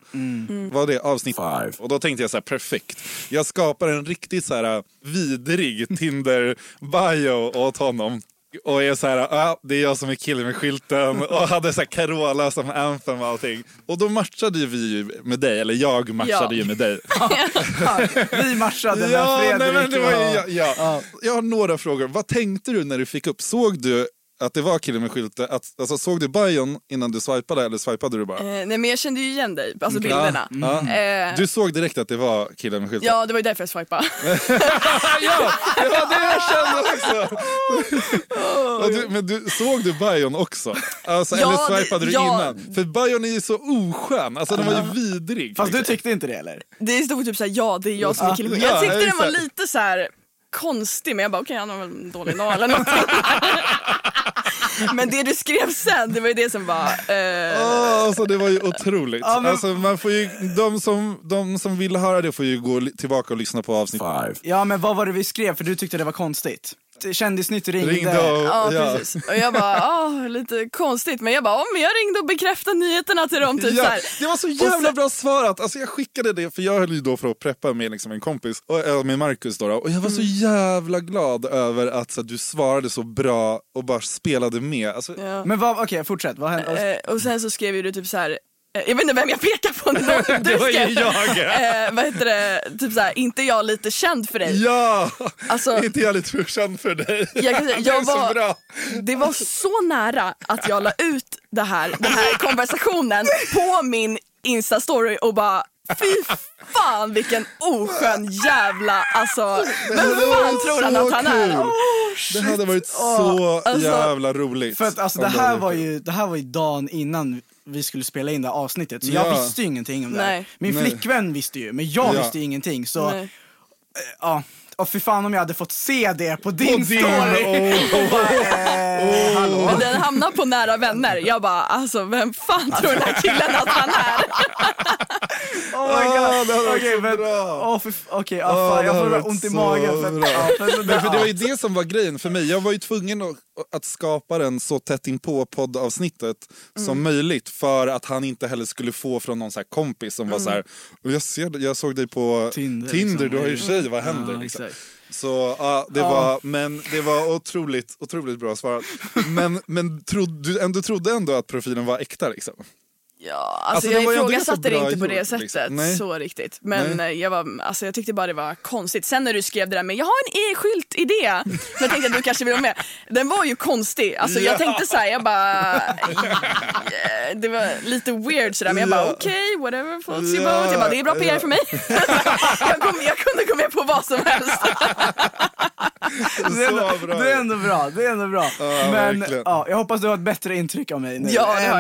Var det avsnitt
Five.
Och då tänkte jag så här perfekt. Jag skapar en riktigt så här äh, vidrig Tinder-bio åt honom. Och är så här, ah, det är jag som är killen med skylten och hade så här Carola som anthem och allting. Och då matchade ju vi ju med dig, eller jag matchade
Ja.
ju med dig.
Vi matchade när
Ja,
Fredrik
nej, men det var, ju- ja,
var...
ja. Jag har några frågor. Vad tänkte du när du fick upp? Såg du att det var killen med skylten? Att, alltså, såg du bion innan du swipade eller swipade du bara?
Eh, nej men jag kände ju igen dig, alltså
Ja,
bilderna.
Mm. ja. Mm.
Eh,
Du såg direkt att det var killen med skylten?
ja det var ju därför jag swipade.
ja, det var det jag kände också. Och du, men du, såg du bion också? Alltså,
Ja,
eller swipade du
det- ja.
innan? För bion är ju så oskön, alltså, den var ju vidrig.
Fast du
liksom.
tyckte inte det eller?
Det stod typ såhär, ja det är jag som är killen.
Ja,
jag tyckte den var
exakt.
lite så här konstig men jag bara okej han har väl en dålig dag eller någonting. men det du skrev sen det var ju det som var... Eh,
Ja, alltså, det var ju otroligt.
Ja, men-
alltså, man får ju, de, som, de som vill höra det får ju gå li- tillbaka och lyssna på avsnitt.
Ja men vad var det vi skrev för du tyckte det var konstigt? Kändisnytt ringde.
Ringde och,
Ja,
ja.
precis. Och jag bara, ja, lite konstigt. Men jag bara, ja, men jag ringde och bekräftade nyheterna till dem. Typ, så
Ja,
här.
det var så
Och
jävla
sen-
bra svarat! Alltså jag skickade det, för jag höll ju då för att preppa med liksom en kompis, och, äh, med Markus då, då, och jag var
Mm.
så jävla glad över att så, att du svarade så bra och bara spelade med. Alltså,
Ja.
Men vad, okej fortsätt, vad hände?
Eh, och sen så skrev ju du typ så här. eh, Jag vet inte vem jag pekar på nu. Du skrev, eh, vad heter det? Typ så här, inte jag lite känd för dig?
Ja!
Alltså,
Inte jag lite förtjänt för dig.
jag kan säga,
det
jag
är så
var-
bra.
Det var så nära att jag la ut det här, den här konversationen på min Insta-story och bara fy fan vilken oskön jävla alltså. Vem
Det hade
fan
varit
tror han
så
att han är? Oh,
kul. det hade varit så
alltså-
jävla roligt.
För att alltså
om
det
du hade
här
gjort
var
det.
ju, det här var ju dagen innan vi skulle spela in det här avsnittet så jag
Ja.
visste ju ingenting om det här.
Nej.
Min
Nej.
flickvän visste ju men jag
Ja.
visste ju ingenting så
Nej.
ja. Och fy fan om jag hade fått se det på
På
din
din-
story!
Åh,
Eh,
Alltså,
hallå.
Och den hamnar på nära vänner. Jag bara alltså vem fan tror den här killen att han är?
Oh my
Ah, det hade
god!
varit
Okej,
så
men...
bra.
Åh, fy f- Okej, ja,
Ah,
fan,
det
jag
hade
får
varit
ont i
så
magen. För,
bra.
ja, för,
Nej, för det var ju det som var grejen för mig. Jag var ju tvungen att, att skapa den så tätt in på poddavsnittet
Mm.
som möjligt för att han inte heller skulle få från någon så här kompis som var så här, "Och jag, ser, jag såg dig på
Mm. Tinder,
Tinder,
liksom.
du har ju tjej, vad händer?
Ja,
liksom.
exakt.
Så ja, det, Var, men det var otroligt, otroligt bra svarat. Men, men trod, du ändå trodde ändå att profilen var äkta? Liksom.
Ja,
Alltså,
alltså
det
jag
var ju ändå
ifrågasatte
ganska
det
bra
inte på det
gjort,
sättet
liksom. Nej.
så riktigt. Men
Nej.
eh, jag, var, alltså, jag tyckte bara det var konstigt. Sen när du skrev det där med jag har en e-skylt idé, så jag tänkte att du kanske vill vara med. Den var ju konstig. Alltså,
Ja.
Jag tänkte så här, jag bara... eh, Det var lite weird sådär men jag bara
Ja.
okej, whatever floats your
Ja.
boat. Jag bara det är bra PR
Ja.
för mig. jag, kom, jag kunde gå med på vad som helst.
det, är ändå,
Så bra.
det är ändå bra, det är ändå bra. men
verkligen.
ja, jag hoppas du har ett bättre intryck av mig nu.
Ja, det har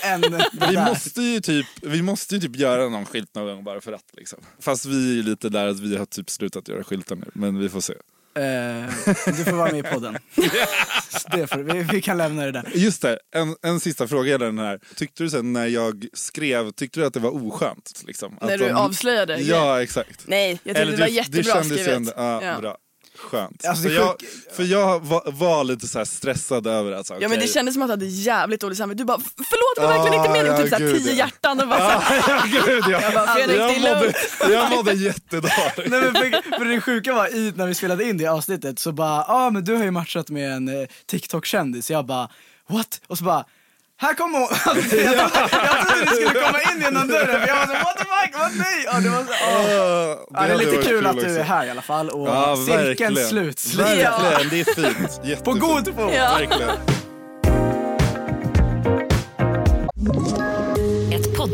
än, än det
Vi
där.
måste, ju typ, vi måste ju typ göra någon skylt någon gång bara för att. Liksom. Fast vi är ju lite där att vi har typ slutat göra skyltar nu, men vi får se.
Eh, du får vara med i podden. det får, vi, vi kan lämna det där.
Just det, en, en sista fråga gäller den här. Tyckte du sen när jag skrev, tyckte du att det var oskönt? Liksom?
när
att
du
de-
avslöjade.
Ja, exakt.
Nej, jag tyckte det var
du-
jättebra
det kändes ju
skrivet.
ändå- Ja,
Ja.
bra. Skönt.
Alltså, det
för,
är
jag, för jag var, var lite så här stressad över att... så här,
Ja men det
okej.
kändes som att du hade jävligt dåligt samvete. Du bara förlåt det var verkligen inte
Ah,
meningen.
ja,
Typ såhär
gud,
tio
ja.
hjärtan och bara så här,
Ja, gud, jag, jag,
bara, Fredrik, det är
mådde,
lugnt.
jag mådde jättedåligt.
Nej, men för, för det sjuka var i, när vi spelade in det avsnittet så bara, ja ah, men du har ju matchat med en eh, TikTok-kändis. Jag bara, what? Och så bara, här kommer hon! jag, trodde, jag trodde vi skulle komma in genom dörren för jag var så, what the fuck, vad nej! Ja, det, var så, åh. ja, det är
hade
lite
varit
kul att
också.
du är här i alla fall och
Ja,
cirkeln
verkligen.
sluts.
Verkligen, det är fint. Jättefint.
På god fot!
Ja.
Verkligen.
Ett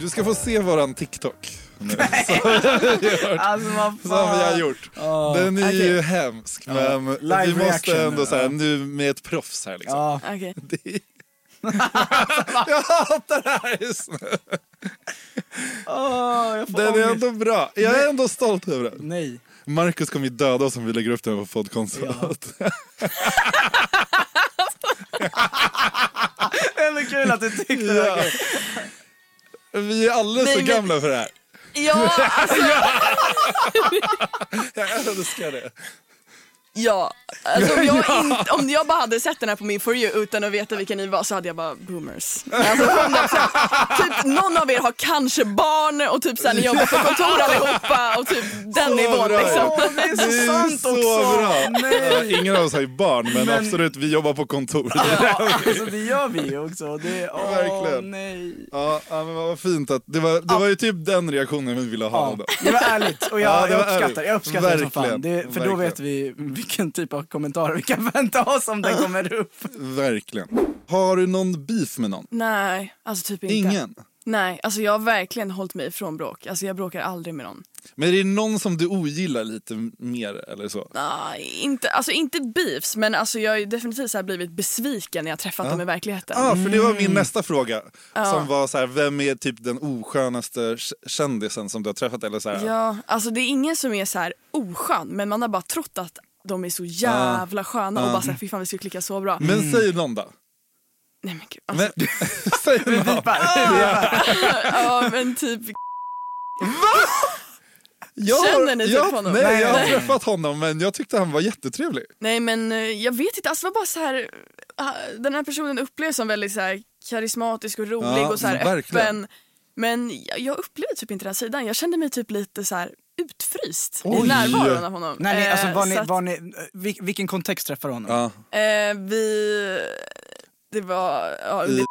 Du ska få se våran TikTok. nu.
Alltså vad
Som vi har
fan.
gjort. Den är ju hemsk men
Live
vi
reaction.
måste ändå säga nu med ett proffs här liksom.
Ja.
Okej.
Det är... jag hatar det här just nu.
Åh, jag får
Den är
ångest.
ändå bra. Jag är ändå stolt över den.
Nej.
Marcus kommer ju döda oss om vi lägger upp den på poddkontot.
Ändå kul att du tyckte det var
Ja.
kul.
Vi är alldeles
Nej,
för
men-
gamla för det här.
Ja, alltså,
Jag älskar det.
ja. Alltså, om, jag inte, om jag bara hade sett den här på min For You utan att veta vilka ni var så hade jag bara boomers. Alltså, 100%. typ någon av er har kanske barn och typ såhär, ni jobbar på kontor allihopa och typ den nivån
bra.
liksom.
Åh, det är så
Det är
sant
så
också!
bra.
Nej!
Ja, Ingen av oss har ju barn men,
Men-
absolut, vi jobbar på kontor.
Ja, alltså det gör vi ju också. Det, åh,
Verkligen.
nej.
Ja, ja, men vad fint att det var, det var ju typ den reaktionen vi ville ha.
Ja,
Då.
det var ärligt och jag,
Ja, det
jag
var
uppskattar, jag
ärligt.
uppskattar det som fan.
Verkligen,
Det, för då
verkligen.
vet vi vilken typ av kommentarer vi kan vänta oss om den kommer upp.
Verkligen. Har du någon beef med någon?
Nej, alltså typ inte.
Ingen.
Nej, alltså jag har verkligen hållit mig ifrån bråk. Alltså jag bråkar aldrig med någon.
Men är det någon som du ogillar lite mer eller så?
Nej, inte, alltså inte beefs, men alltså jag har ju definitivt så här blivit besviken när jag träffat dem i verkligheten.
Ja, ah, för det var
Mm.
min nästa fråga. Som var så här, vem är typ den oskönaste k- kändisen som du har träffat? Eller så här,
Ja, alltså det är ingen som är så här oskön, men man har bara trott att de är så jävla sköna och bara såhär, fy fan vi skulle klicka så bra.
Men säg någon då.
Alltså, Nej men gud, alltså,
Men, säg någon.
ja men typ,
Jag,
Känner ni typ
jag,
honom?
Nej, jag har
Nej.
träffat honom men jag tyckte han var jättetrevlig.
nej men eh, jag vet inte, alltså det var bara så här ah, den här personen upplevs som väldigt så här karismatisk och rolig
Ja,
och så här
verkligen.
öppen. Men jag, jag upplevde typ inte den här sidan, jag kände mig typ lite så här utfryst
Oj.
i närvaron av honom.
Nej, nej, alltså
Eh,
var
så
ni,
att-
var ni, vil, vilken kontext träffar honom?
Ja.
Eh, vi... Det var... Ja,
I-
det,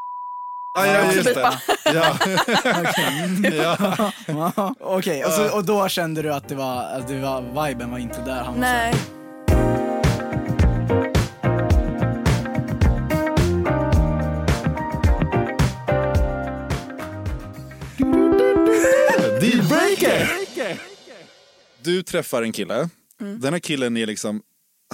Ja, ja, just det. Ja. ja.
Ja, Okej, och, så- och då kände du att det var, att det var viben var inte där. Han var så här-
nej.
Dealbreaker! Du träffar en kille. Den här killen är liksom,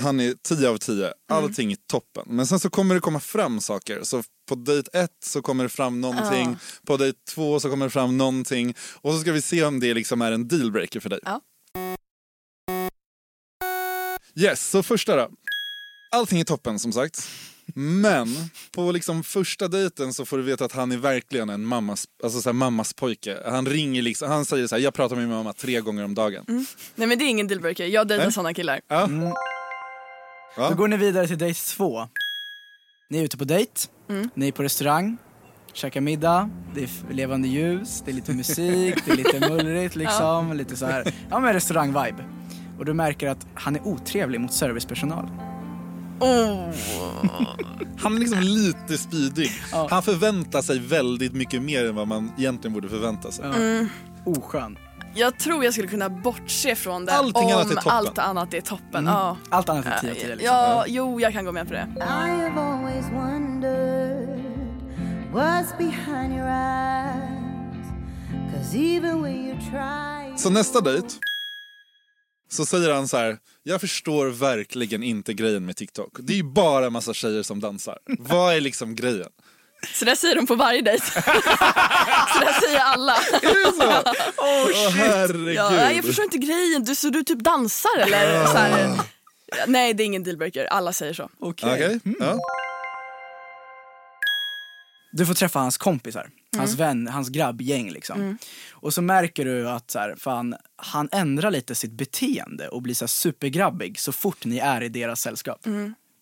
han är 10 av 10. Allting är toppen. Men sen så kommer det komma fram saker. Så på dejt ett så kommer det fram någonting. På dejt två så kommer det fram någonting. Och så ska vi se om det liksom är en dealbreaker för dig.
Ja.
Yes, så första då. Allting är toppen som sagt. Men på liksom första dejten så får du veta att han är verkligen en mammas, alltså så här mammas pojke. Han ringer liksom, han säger så här, jag pratar med min mamma tre gånger om dagen.
Nej men det är ingen dealbreaker, jag dejtar
Nej.
såna killar.
Ja. Ja.
Mm. Då går ni vidare till dejt två. Ni är ute på dejt,
Mm.
ni är på restaurang, käkar middag, det är f- levande ljus, det är lite musik, det är lite mullrigt liksom. Lite så här, ja men restaurang-vibe. Och du märker att han är otrevlig mot servicepersonal.
Oh.
Han är liksom lite spydig. Han förväntar sig väldigt mycket mer än vad man egentligen borde förvänta sig.
Oskön.
Jag tror jag skulle kunna bortse från det
Allting
om
annat är toppen. Mm.
allt annat är toppen. Ja.
Allt annat är 10 av 10 liksom.
ja, jo jag kan gå med på det.
I have always wondered what's behind your eyes. Cause even when you try,
Så nästa dejt så säger han så här, jag förstår verkligen inte grejen med TikTok. Det är ju bara en massa tjejer som dansar. Vad är liksom grejen?
Så det säger de på varje dejt. så det säger alla.
Åh herregud.
Ja, nej, jag förstår inte grejen, du, så du typ dansar eller? Så här. Nej, det är ingen dealbreaker. Alla säger så.
Okej. Du får träffa hans kompisar, hans vän, hans grabbgäng liksom. Och så märker du att så här, fan, han ändrar lite sitt beteende och blir så här supergrabbig så fort ni är i deras sällskap.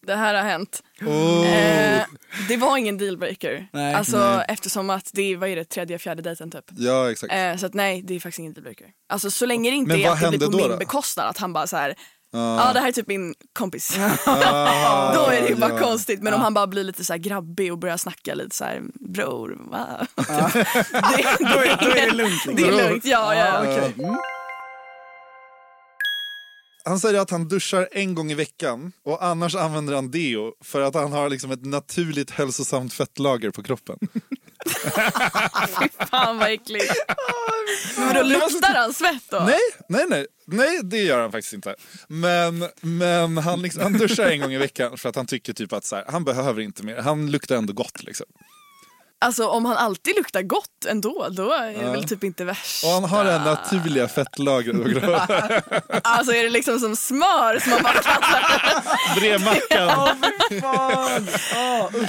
Det här har hänt.
Oh.
Eh, det var ingen dealbreaker.
Nej.
alltså,
Nej.
Eftersom att det är vad är det, tredje, fjärde dejten typ.
Ja, exakt.
Eh, så att nej, det är faktiskt ingen dealbreaker. Alltså så länge det inte
Men
är
vad
att det blir
hände
på
då
min
då?
bekostnad. Att han bara så här, ja
Ja.
det här är typ min kompis.
Ah,
då är det ju bara
ja. Ah.
konstigt. Men om han bara blir lite så här grabbig och börjar snacka lite så här, bror, va?
Ah.
det,
Då är, då är det lugnt. Liksom.
det är lugnt, ja, ja.
Ja. Han säger att han duschar en gång i veckan och annars använder han deo för att han har liksom ett naturligt hälsosamt fettlager på kroppen.
Fan vad äckligt.
Ah,
Men då luktar han svett då?
Nej, nej, nej, nej, det gör han faktiskt inte. Men, men han, liksom, han duschar en gång i veckan för att han tycker typ att så här, han behöver inte mer. Han luktar ändå gott liksom.
Alltså om han alltid luktar gott ändå, då är det
Ja.
väl typ inte värst.
Ah. Och han har det här naturliga fettlagret på kroppen.
Alltså är det liksom som smör som man bara
Brevmackan.
Fan. Ja, usch.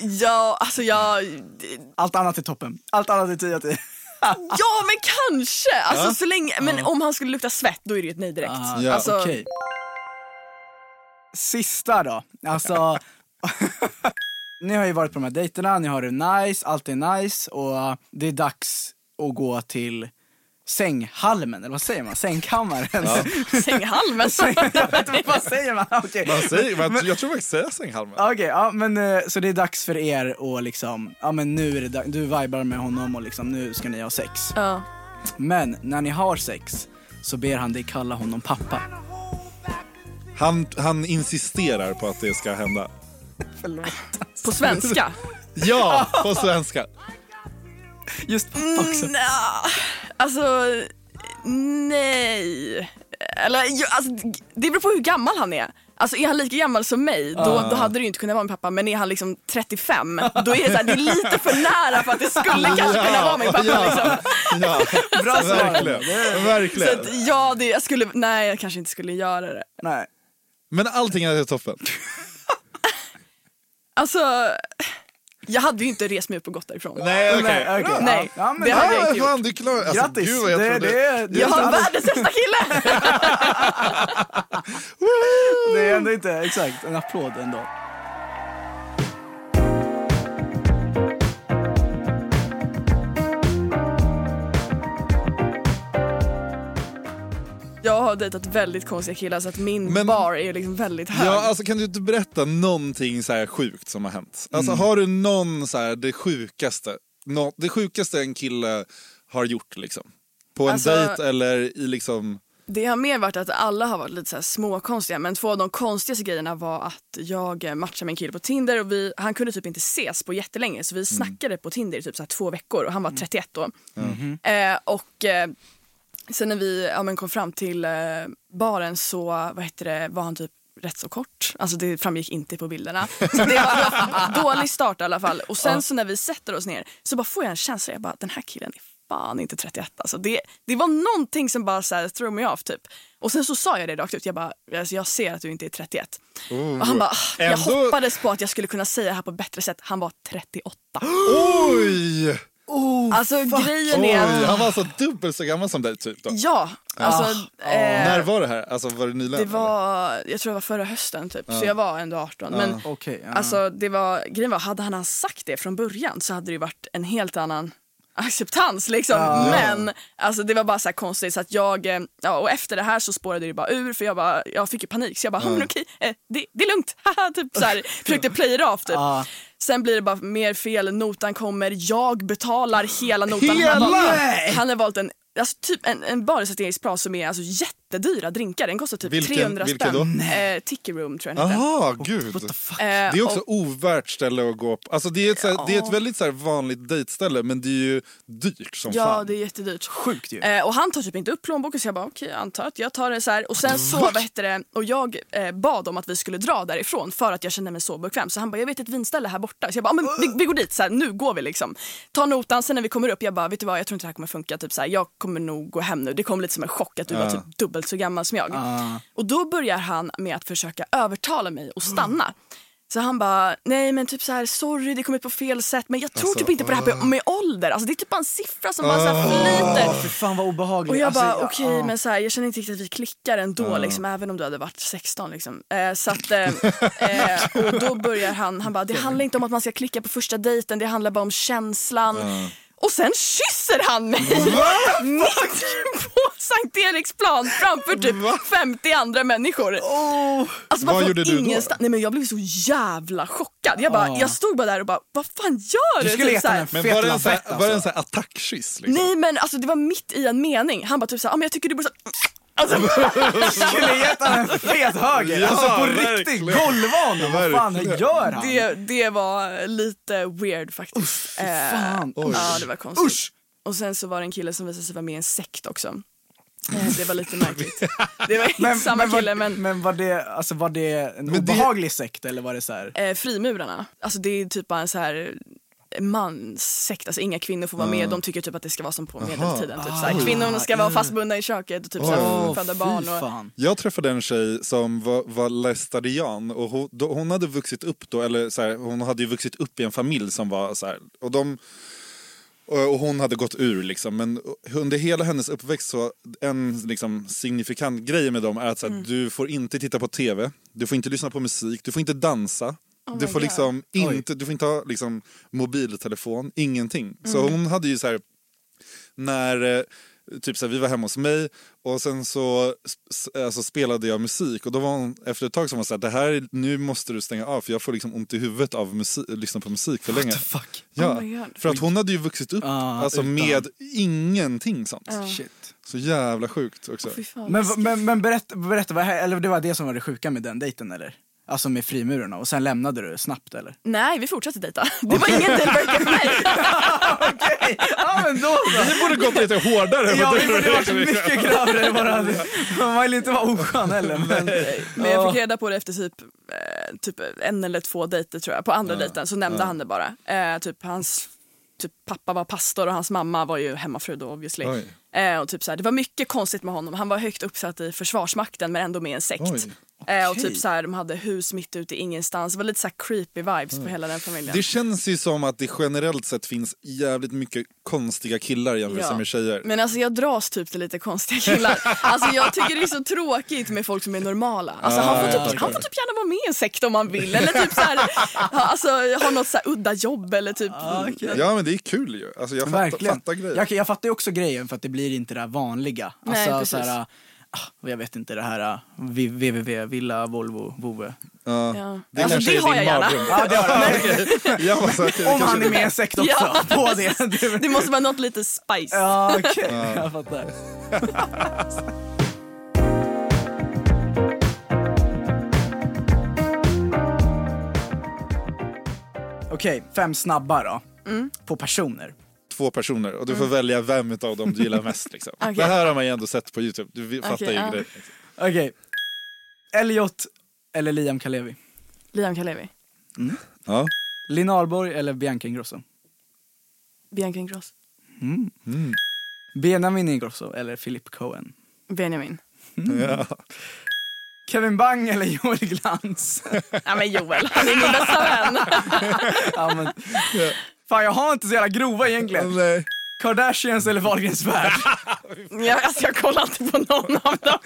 Eh, Ja, alltså jag...
Allt annat är toppen. Allt annat är 10 av 10.
Ja, men kanske! Alltså,
Ja.
så länge... Men om han skulle lukta svett, då är det ju ett nej direkt.
Ah,
Ja.
alltså,
Okej. Sista då. Alltså... ni har ju varit på de här dejterna, ni har det nice, allt är nice och det är dags att gå till sänghalmen, eller vad säger man? Sängkammaren?
Sänghalmen.
vad säger man? Okej,
Man säger, man, jag tror faktiskt säger sänghalmen.
Okej, ja men eh, så det är dags för er att liksom, ja men nu är det dags, du vibar med honom och liksom nu ska ni ha sex.
ja.
Men när ni har sex så ber han dig kalla honom pappa.
Han, han insisterar på att det ska hända.
På svenska.
Ja, på svenska.
Just pappa också.
Nja, Mm, alltså, nej. Eller, ju, alltså, det beror på hur gammal han är. Alltså är han lika gammal som mig, då, då hade det ju inte kunnat vara min pappa. Men är han liksom 35, då är det, så här, det är lite för nära för att det skulle kanske kunna vara min pappa. Liksom.
ja, ja. Bra verkligen.
Så
verkligen.
att, ja, det, jag skulle, nej jag kanske inte skulle göra det.
Nej.
Men allting är toppen.
Alltså, jag hade ju inte rest mig upp och gått därifrån.
Nej, okej.
Nej, okej.
Nej,
Ja, men
det hade jag
Ah,
inte gjort.
fan, du klarar alltså,
Grattis!
Gud vad jag
det,
trodde.
det, det,
Jag har
det,
världens bästa kille!
det är ändå inte exakt en applåd ändå.
Jag har dejtat väldigt konstiga killar så att min
Men-
bar är ju liksom väldigt hög.
Ja, alltså kan du inte berätta någonting så här sjukt som har hänt? Alltså har du någon så här det sjukaste, nå- det sjukaste en kille har gjort liksom? På en
Alltså-
dejt eller i liksom...
Det har mer varit att alla har varit lite så här småkonstiga men två av de konstigaste grejerna var att jag eh, matchade med en kille på Tinder och vi, han kunde typ inte ses på jättelänge så vi snackade på Tinder i typ så här två veckor och han var 31 då. Eh, och eh, sen när vi ja, men kom fram till eh, baren så vad heter det, var han typ rätt så kort. Alltså det framgick inte på bilderna. Så det var dålig start i alla fall. Och sen så när vi sätter oss ner så bara får jag en känsla, jag bara den här killen är fan inte 31 alltså. Det, det var någonting som bara så här, threw me off typ. Och sen så sa jag det rakt ut, jag bara alltså, jag ser att du inte är 31. och han bara, "Ah, jag
Ändå-
hoppades på att jag skulle kunna säga det här på ett bättre sätt. Han var 38.
Oj!
Alltså grejen
Oh, Oj!
är att,
Han var alltså dubbelt så gammal som dig typ då?
ja. Alltså, eh,
När var det här? Alltså var det nyligen?
Det
eller?
var, jag tror det var förra hösten typ, så jag var ändå 18. Men
Okej. ja.
alltså, det var, grejen var, hade han ens sagt det från början så hade det ju varit en helt annan acceptans liksom. Men alltså, det var bara så här konstigt så att jag, eh, ja, och efter det här så spårade det bara ur för jag, bara, jag fick ju panik så jag bara, ja. men okej, eh, det, det är lugnt, haha, typ så här, försökte play it off typ.
Ja.
Sen blir det bara mer fel, notan kommer, jag betalar hela notan.
Hela?
Han, har
Nej!
valt, han har valt en Alltså typ en, en barisatiringsbras som är alltså jättedyra drinkar. Den kostar typ
Vilken-
300
vilken
spänn.
då?
Eh, Tiki Room tror jag den heter.
Jaha, gud.
Eh,
Det är också
och-
ovärt ställe att gå på. Alltså det är ett, så här, det är ett väldigt så här, vanligt dejtställe men det är ju dyrt som
Ja,
fan.
det är jättedyrt.
Sjukt ju.
Eh, och han tar typ inte upp plånboken så jag bara okej, jag antar att jag tar det så här. Och sen så, vad heter det, och jag eh, bad om att vi skulle dra därifrån för att jag kände mig så bekväm. Så han bara, jag vet ett vinställe här borta. Så jag bara, ah, men vi, vi går dit, så här, nu går vi liksom. Ta notan, sen när vi kommer upp, jag bara, vet du vad, jag tror inte det här kommer funka. Typ så här, jag kommer nog gå hem nu. Det kom lite som en chock att du var typ dubbelt så gammal som jag.
Ah.
Och då börjar han med att försöka övertala mig att stanna. Så han bara, nej men typ så här, sorry det kom ut på fel sätt men jag tror
Alltså,
typ inte på det här med,
ah.
med ålder. Alltså det är typ bara en siffra som bara så här flyter.
Fy fan vad obehagligt.
Och jag
Alltså,
bara,
ja,
okej
ja.
men så här, jag känner inte riktigt att vi klickar ändå
Ja.
liksom, även om du hade varit 16 liksom. Eh, så att, eh, eh, och då börjar han, han bara, det handlar inte om att man ska klicka på första dejten, det handlar bara om känslan. Och sen kysser han mig! Mitt på Sankt Eriksplan framför typ 50 andra människor. Alltså, man
Vad
får
gjorde du då?
ingenstans- Nej, men jag blev så jävla chockad. Jag, bara,
Ja.
jag stod bara där och bara, vad fan gör du? Typ så här-
Men var det en sån här, var det en sån här attackkyss? Liksom?
alltså. Nej men alltså det var mitt i en mening. Han bara typ såhär, ah, men jag tycker du borde så... Alltså,
alltså. Skulle gett han en fet höger.
Ja,
alltså på
verkligen.
riktigt, golvvan. Vad fan gör han?
Det, det var lite weird faktiskt. Usch,
fan. Oj.
ja det var konstigt. Och sen så var det en kille som visade sig vara med i en sekt också. Eh, Det var lite märkligt. Det var inte samma
var,
kille men
men var det, alltså, var det en obehaglig sekt eller var det så här?
eh, frimurarna, alltså det är typ bara en så här eh, manssekt, alltså inga kvinnor får vara
Ah.
med. De tycker typ att det ska vara som på
Aha.
medeltiden. Typ, så här,
Oj.
kvinnorna ska vara fastbundna i köket och typ så här,
Oj.
föda
Fy
barn. Och,
Jag träffade en tjej som var, var lästadian och hon, då, hon hade vuxit upp då, eller så här, hon hade ju vuxit upp i en familj som var så här, och de och och hon hade gått ur liksom, men under hela hennes uppväxt så en liksom, signifikant grej med dem är att så här,
Mm.
du får inte titta på tv, du får inte lyssna på musik, du får inte dansa,
Oh
du,
my
får
God.
liksom,
Oj.
inte, du får inte ha liksom, mobiltelefon, ingenting. Så
Mm.
hon hade ju så här, när eh, typ så här, vi var hemma hos mig och sen så s- alltså, spelade jag musik och då var hon efter ett tag som var så här, det här är- nu måste du stänga av för jag får liksom ont i huvudet av musik, lyssna på musik för länge. Ja,
Oh my God. Ah,
för att hon hade ju vuxit upp alltså,
utan.
med ingenting sånt.
Ja.
Så jävla sjukt också.
Men, men, men berätta, berätta vad, eller det var det som var det sjuka med den dejten eller? Alltså med frimurarna och sen lämnade du snabbt eller?
Nej, vi fortsatte dejta. Det var inget dealbreaker för mig.
Ja men då
Vi borde gått lite hårdare.
Ja, vi borde varit mycket grövre än vad det hade- Man var ju inte vara oskön heller. Men,
Men jag
Ja.
fick reda på det efter typ, eh, typ en eller två dejter tror jag. På andra dejten så nämnde
Ja.
han det bara. Eh, typ hans typ, pappa var pastor och hans mamma var ju hemmafru då obviously. Eh, och typ så här, det var mycket konstigt med honom. Han var högt uppsatt i försvarsmakten men ändå med i en sekt.
Oj.
Eh, och
Okej.
typ så här, de hade hus mitt ute i ingenstans. Det var lite så här creepy vibes på hela den familjen.
Det känns ju som att det generellt sett finns jävligt mycket konstiga killar jämfört
Ja.
med tjejer.
Men alltså jag dras typ till lite konstiga killar. Alltså jag tycker det är så tråkigt med folk som är normala. Alltså han,
Ah,
får
jag
typ,
förstår.
han får typ gärna vara med i en sekt om han vill. Eller typ så här, ha, alltså, ha något så här udda jobb eller typ.
Ja men det är kul ju. Alltså, jag fattar,
Verkligen.
fattar grejer.
Jag, jag fattar ju också grejen för att det blir inte det där vanliga.
Nej,
Alltså,
precis.
så här, ah, jag vet inte det här ah, vi- www, villa, Volvo, vovve.
Ja. Det Alltså, kanske det är har din jag gärna. mardröm.
Ja, det har jag.
Jag var så här,
Om han
kanske-
är med i en sekt också.
Ja.
På det.
Det måste vara något lite spice.
Ja, okej.
Ja.
Jag fattar. Okej, fem snabba då.
Mm.
På personer.
Två personer och du får välja vem av dem du gillar mest. Liksom.
Okej.
Det här har man ju ändå sett på Youtube. Du vi- fattar
Okej,
ju
ja.
grejen. liksom.
Okej. Elliot eller Liam Kalevi?
Liam Kalevi,
Ja.
Linn Ahlborg eller Bianca Ingrosso?
Bianca Ingrosso,
Mm. Benjamin Ingrosso eller Philip Cohen?
Benjamin.
Mm.
Ja.
Kevin Bang eller Joel Glans?
Ja men Joel, han är min bästa vän.
ja, men, fan jag har inte så jävla grova egentligen. Kardashians eller Wahlgrens värld?
Jag, alltså, jag kollar inte på någon av dem.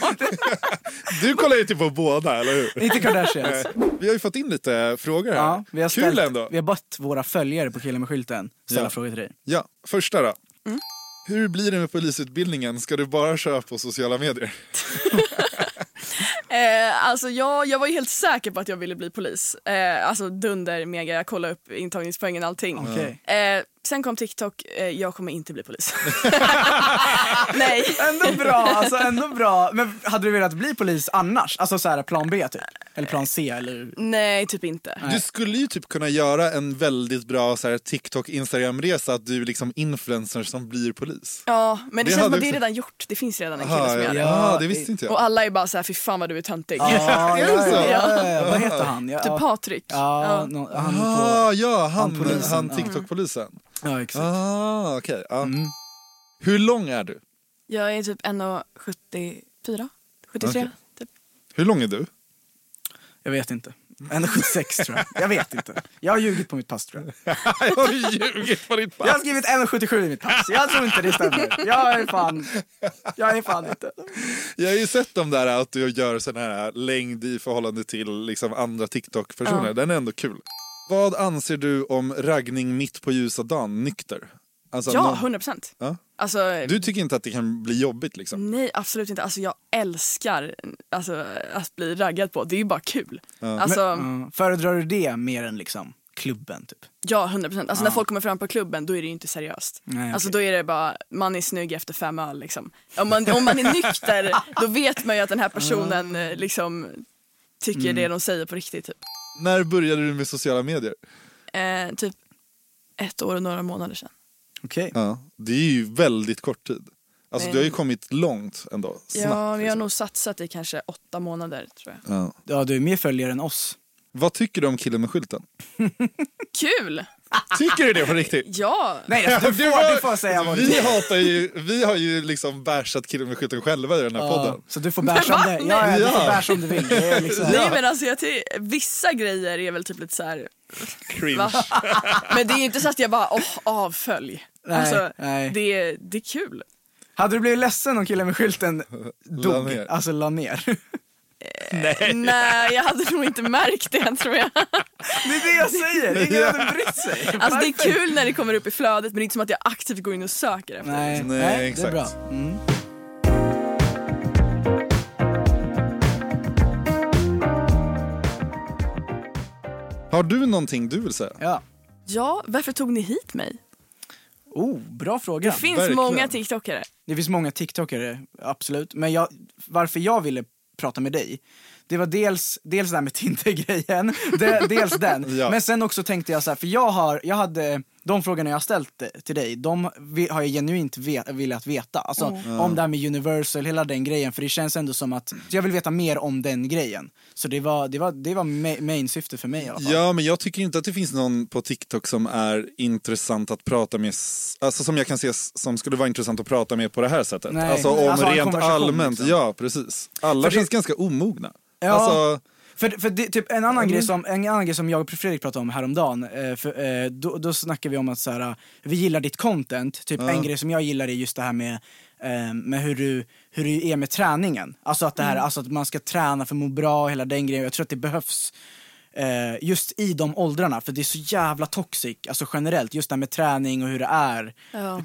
Du kollar ju typ på båda, eller hur?
Inte Kardashians.
Nej. Vi har ju fått in lite frågor här.
Ja, vi har
Kul
ställt,
ändå.
Vi har bett våra följare på Killen med skylten ställa
Ja.
frågor till dig.
Ja, första då.
Mm.
Hur blir det med polisutbildningen? Ska du bara köra på sociala medier?
Eh, alltså jag, jag var ju helt säker på att jag ville bli polis. Eh, alltså dunder, mega, jag kollade upp intagningspoängen och allting.
Okej.
Eh, sen kom TikTok, eh, jag kommer inte bli polis. Nej.
Ändå bra, alltså ändå bra. Men hade du velat bli polis annars? Alltså så här plan B typ? Eller plan C eller?
Nej, typ inte.
Du skulle ju typ kunna göra en väldigt bra så här, TikTok-Instagram-resa att du är liksom influencer som blir polis.
Ja, men det,
Det
känns som
hade
att det är
också-
redan gjort. Det finns redan en
Aha,
kille som
ja.
gör det.
Ja, det visste inte jag.
Och alla är bara så här, fy fan vad du är töntig.
Ja, ja, ja, ja, ja, ja. Vad heter han? Ja,
Typ Patrik.
Ja, nå- han på...
ah, ja, Typ. han, han,
polisen, ja.
TikTok-polisen.
Ja, exakt. Mm.
Ah,
Mm.
okej. ja. Hur lång är du?
Jag är typ 1,74. 73.
Okej. Hur lång är du?
Jag vet inte. 1,76 tror jag. Jag vet inte. Jag har ljugit på mitt pass tror jag.
jag har ljugit på ditt pass.
Jag har skrivit 1,77 i mitt pass. Jag tror inte det stämmer. Jag är fan, jag är fan inte.
Jag har ju sett de där att du gör sån här längd i förhållande till liksom andra TikTok-personer. Den är ändå kul. Vad anser du om raggning mitt på ljusa dagen, nykter? Alltså,
Ja,
någon-
100 procent. Mm.
Ja.
Alltså,
Du tycker inte att det kan bli jobbigt liksom?
nej, absolut inte. Alltså, jag älskar alltså, att bli raggad på. Det är ju bara kul. Alltså,
Men, mm. ja, föredrar du det mer än liksom klubben typ?
Ja, 100 procent. Alltså,
Ja.
När folk kommer fram på klubben då är det ju inte seriöst.
Nej,
Alltså,
okej.
då är det bara, man är snygg efter fem öl. Liksom. Om, man, om man är nykter då vet man ju att den här personen eh, liksom, tycker
Mm.
det de säger på riktigt. Typ.
När började du med sociala medier?
Eh, typ ett år och några månader sedan.
Okej.
Ja. Det är ju väldigt kort tid. Alltså, Du har ju
Men-
kommit långt ändå. Snabbt,
ja, men jag har
liksom.
nog satsat i kanske åtta månader tror jag.
ja.
Ja, du är mer följare än oss.
Vad tycker du om killen med skylten?
Kul!
Tycker du det på riktigt?
Ja!
Nej, alltså, du,
Det
får,
var-
du får säga vad du
vi, hatar ju, vi har ju liksom bärsat killen med skylten själva i den här podden.
Så du får bära om det. Ja, ja, du får
Ja.
bära som du vill. Det är liksom...
Nej men alltså jag ty- vissa grejer är väl typ lite så här,
Cringe.
va? Men det är ju inte så att jag bara, åh, avfölj.
Nej,
alltså,
nej.
Det, är- det är kul.
Hade du blivit ledsen om killen med skylten
La
dog?
ner.
Alltså la ner.
Eh, Nej, jag hade nog inte märkt det tror jag.
Det är det jag säger, ingen hade brytt sig.
Alltså det är kul när det kommer upp i flödet men det är inte som att jag aktivt går in och söker efter
Nej,
Nej,
nej det är
exakt.
bra. Mm.
Har du någonting du vill säga?
Ja.
Ja, varför tog ni hit mig?
Oh, bra fråga.
Det finns
verkligen.
många tiktokare.
Det finns många TikTokare, absolut. Men jag, varför jag ville prata med dig, det var dels, dels det här med Tinder-grejen, de, dels den.
Ja.
Men sen också tänkte jag så här, för jag har, jag hade, de frågorna jag har ställt till dig, de vi- har jag genuint ve, velat veta. Alltså om det här med Universal, hela den grejen. För det känns ändå som att, jag vill veta mer om den grejen. Så det var, det var, det var ma- main syfte för mig i alla fall.
Ja, men jag tycker inte att det finns någon på TikTok som är intressant att prata med. s- Alltså som jag kan se s- som skulle vara intressant att prata med på det här sättet.
Nej.
Alltså om
Alltså, ha en
rent
konversation,
allmänt.
liksom.
Ja, precis. Alla
det-
känns ganska omogna.
Ja.
Alltså,
För, för det, typ en annan, grej som, en annan grej som jag och Fredrik pratade om häromdagen, eh, för, eh, då, då snackade vi om att så här, eh, vi gillar ditt content, typ en grej som jag gillar är just det här med, eh, med hur, du, hur du är med träningen. Alltså att, det här, alltså att man ska träna för att må bra och hela den grejen, jag tror att det behövs eh, just i de åldrarna, för det är så jävla toxic, alltså generellt, just det här med träning och hur det är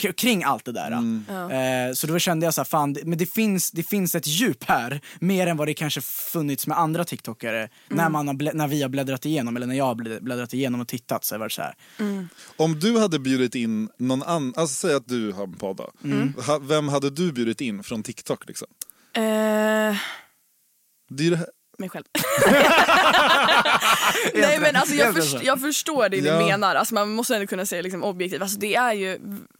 k- kring allt det där. Eh, så då kände jag så här, fan, det- men det finns, det finns ett djup här, mer än vad det kanske funnits med andra tiktokare, när, man har blä- när vi har bläddrat igenom, eller när jag har blä- bläddrat igenom och tittat så har det varit så här.
om du hade bjudit in någon annan, alltså säg att du har en podd då.
Mm.
Ha, vem hade du bjudit in från TikTok liksom?
Eh,
Det är ju det här.
mig själv. Nej men alltså jag,
Helt
först,
rätt.
jag förstår det ni
Ja.
menar. Alltså, man måste ändå kunna säga liksom, objektivt. Alltså, det är ju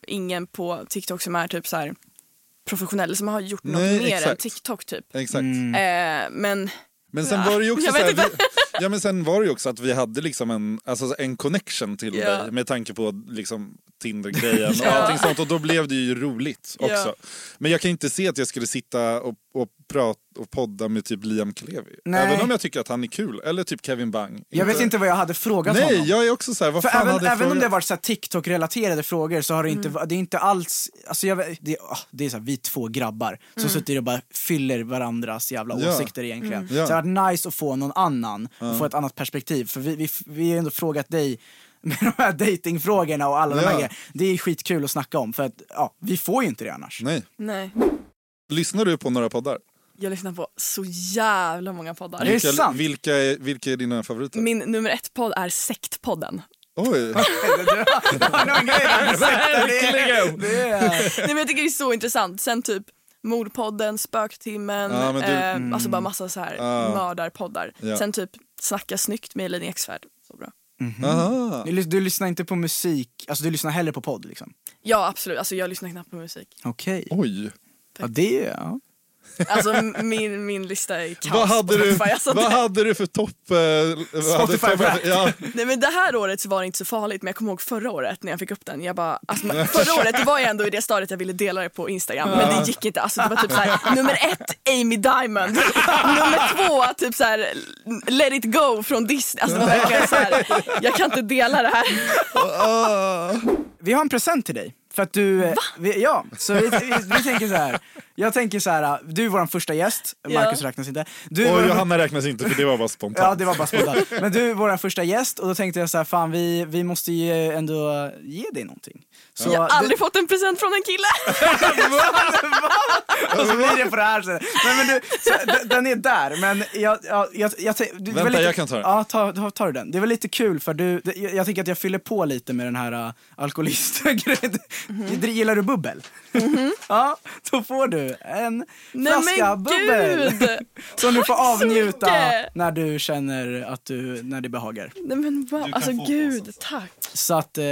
ingen på TikTok som är typ så här professionell, som har gjort något
Nej,
mer än
exakt.
TikTok typ.
Exakt. Mm.
Mm.
Eh, men
Men sen var det ju också
Jag
så här,
vet
vi, ja, men sen var det ju också att vi hade liksom en, alltså en connection till
Ja.
dig med tanke på liksom Tinder-grejen och allting sånt och då blev det ju roligt också.
Ja.
Men jag kan inte se att jag skulle sitta och, och prata och podda med typ Liam Klevi.
Nej.
Även om jag tycker att han är kul. Eller typ Kevin Bang.
Jag vet inte vad jag hade frågat honom.
Nej, jag är också så här, vad
För
fan
även,
hade Mm.
även om
frågan-
det har varit så här TikTok-relaterade frågor så har det inte, va- det är inte alls, alltså jag, vet- det, ah, det är så här, vi två grabbar som sitter och bara fyller varandras jävla
Mm. Ja. Mm.
åsikter egentligen.
Ja.
Så det hade varit nice att få någon annan, och få ett annat perspektiv. För vi, vi, vi har ändå frågat dig med de här datingfrågorna och alla de här
Ja.
grejerna. Det är skitkul att snacka om för att ja, vi får ju inte det annars.
Nej.
nej,
Lyssnar du på några poddar?
jag lyssnar på så jävla många poddar.
Det är
Vilka,
sant.
vilka, är, vilka är dina favoriter?
Min nummer ett podd är Sektpodden.
Oj.
Verkligen! Det är,
Nej, men jag tycker det är så intressant. Sen typ Mordpodden, Spöktimmen,
Ja, men du- Mm.
eh, alltså bara massa så här
Ja.
mördarpoddar.
Ja.
Sen typ Snacka snyggt med Elin Eksvärd. Så bra.
Aha.
du, lys- du lyssnar inte på musik, alltså du lyssnar hellre på podd liksom?
Ja absolut, alltså jag lyssnar knappt på musik.
Okej.
Oj.
Ja, det, ja.
Alltså min, min lista är kaos
Vad hade,
på
du,
Spotify, alltså,
vad
det-
hade du för topp... eh, vad hade
Spotify
topp-
Wrapped.
ja.
Nej men det här året så var det inte så farligt men jag kommer ihåg förra året när jag fick upp den. Jag bara, alltså, men, förra året då var jag ändå i det stadiet jag ville dela det på Instagram men det gick inte. Alltså, det var typ såhär, nummer ett Amy Diamond, nummer två typ såhär Let it go från Disney. Alltså, det var verkligen såhär, jag kan inte dela det här.
Vi har en present till dig. För att du, eh, vi, ja, så vi, vi, vi tänker så här. jag tänker så här. ah, du är vår första gäst,
Ja.
Marcus räknas inte. Du är
Och
vår-
Johanna räknas inte för det var bara spontant.
Ja det var bara spontant. Men du är vår första gäst och då tänkte jag så här, fan vi, vi måste ju ändå ge dig någonting. Så,
Jag har aldrig fått en present från en kille.
Och så blir det på det här sättet. Nej, men du, så, d- den är där, men jag... jag, jag, jag tänk- du, det var
Vänta,
lite,
jag kan ta den.
Ja, ta, ta, tar du den. Det var lite kul för du, det, jag, jag tänker att jag fyller på lite med den här uh, alkoholistgrejen.
Mhm.
Gillar du bubbel? ja, då får du en
Nej
flaska
men
bubbel.
gud!
Som du får
Tack så
avnjuta
mycket.
när du känner att du, när det behagar.
Nej men wow, alltså gud, tack.
Så att, eh,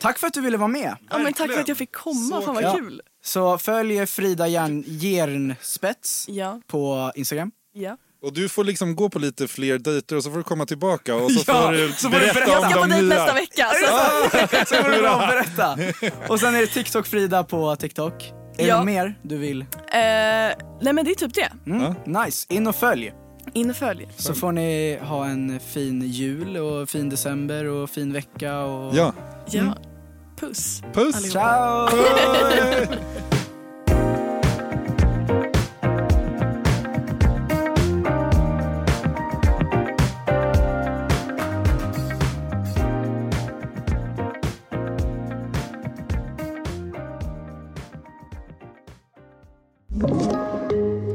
tack för att du ville vara med.
Ja, men tack för att jag fick komma, fan vad
Ja.
kul.
Så följ Frida Järn, Järnspets
Ja,
på Instagram.
ja.
Och du får liksom gå på lite fler dejter och så får du komma tillbaka och så
Ja,
får du
så får du
berätta,
berätta.
Jag
om
ska på
de
dejt
nya.
nästa vecka. Så.
Så får du bara berätta. Och sen är det TikTok Frida på TikTok. Är
Ja.
det mer du vill? Mm.
Eh, nej men det är typ det.
Nice, in och följ.
In och följ.
Så får ni ha en fin jul och fin december och fin vecka och...
Ja,
Ja. Mm. Puss.
puss!
Allihopa.
Ciao!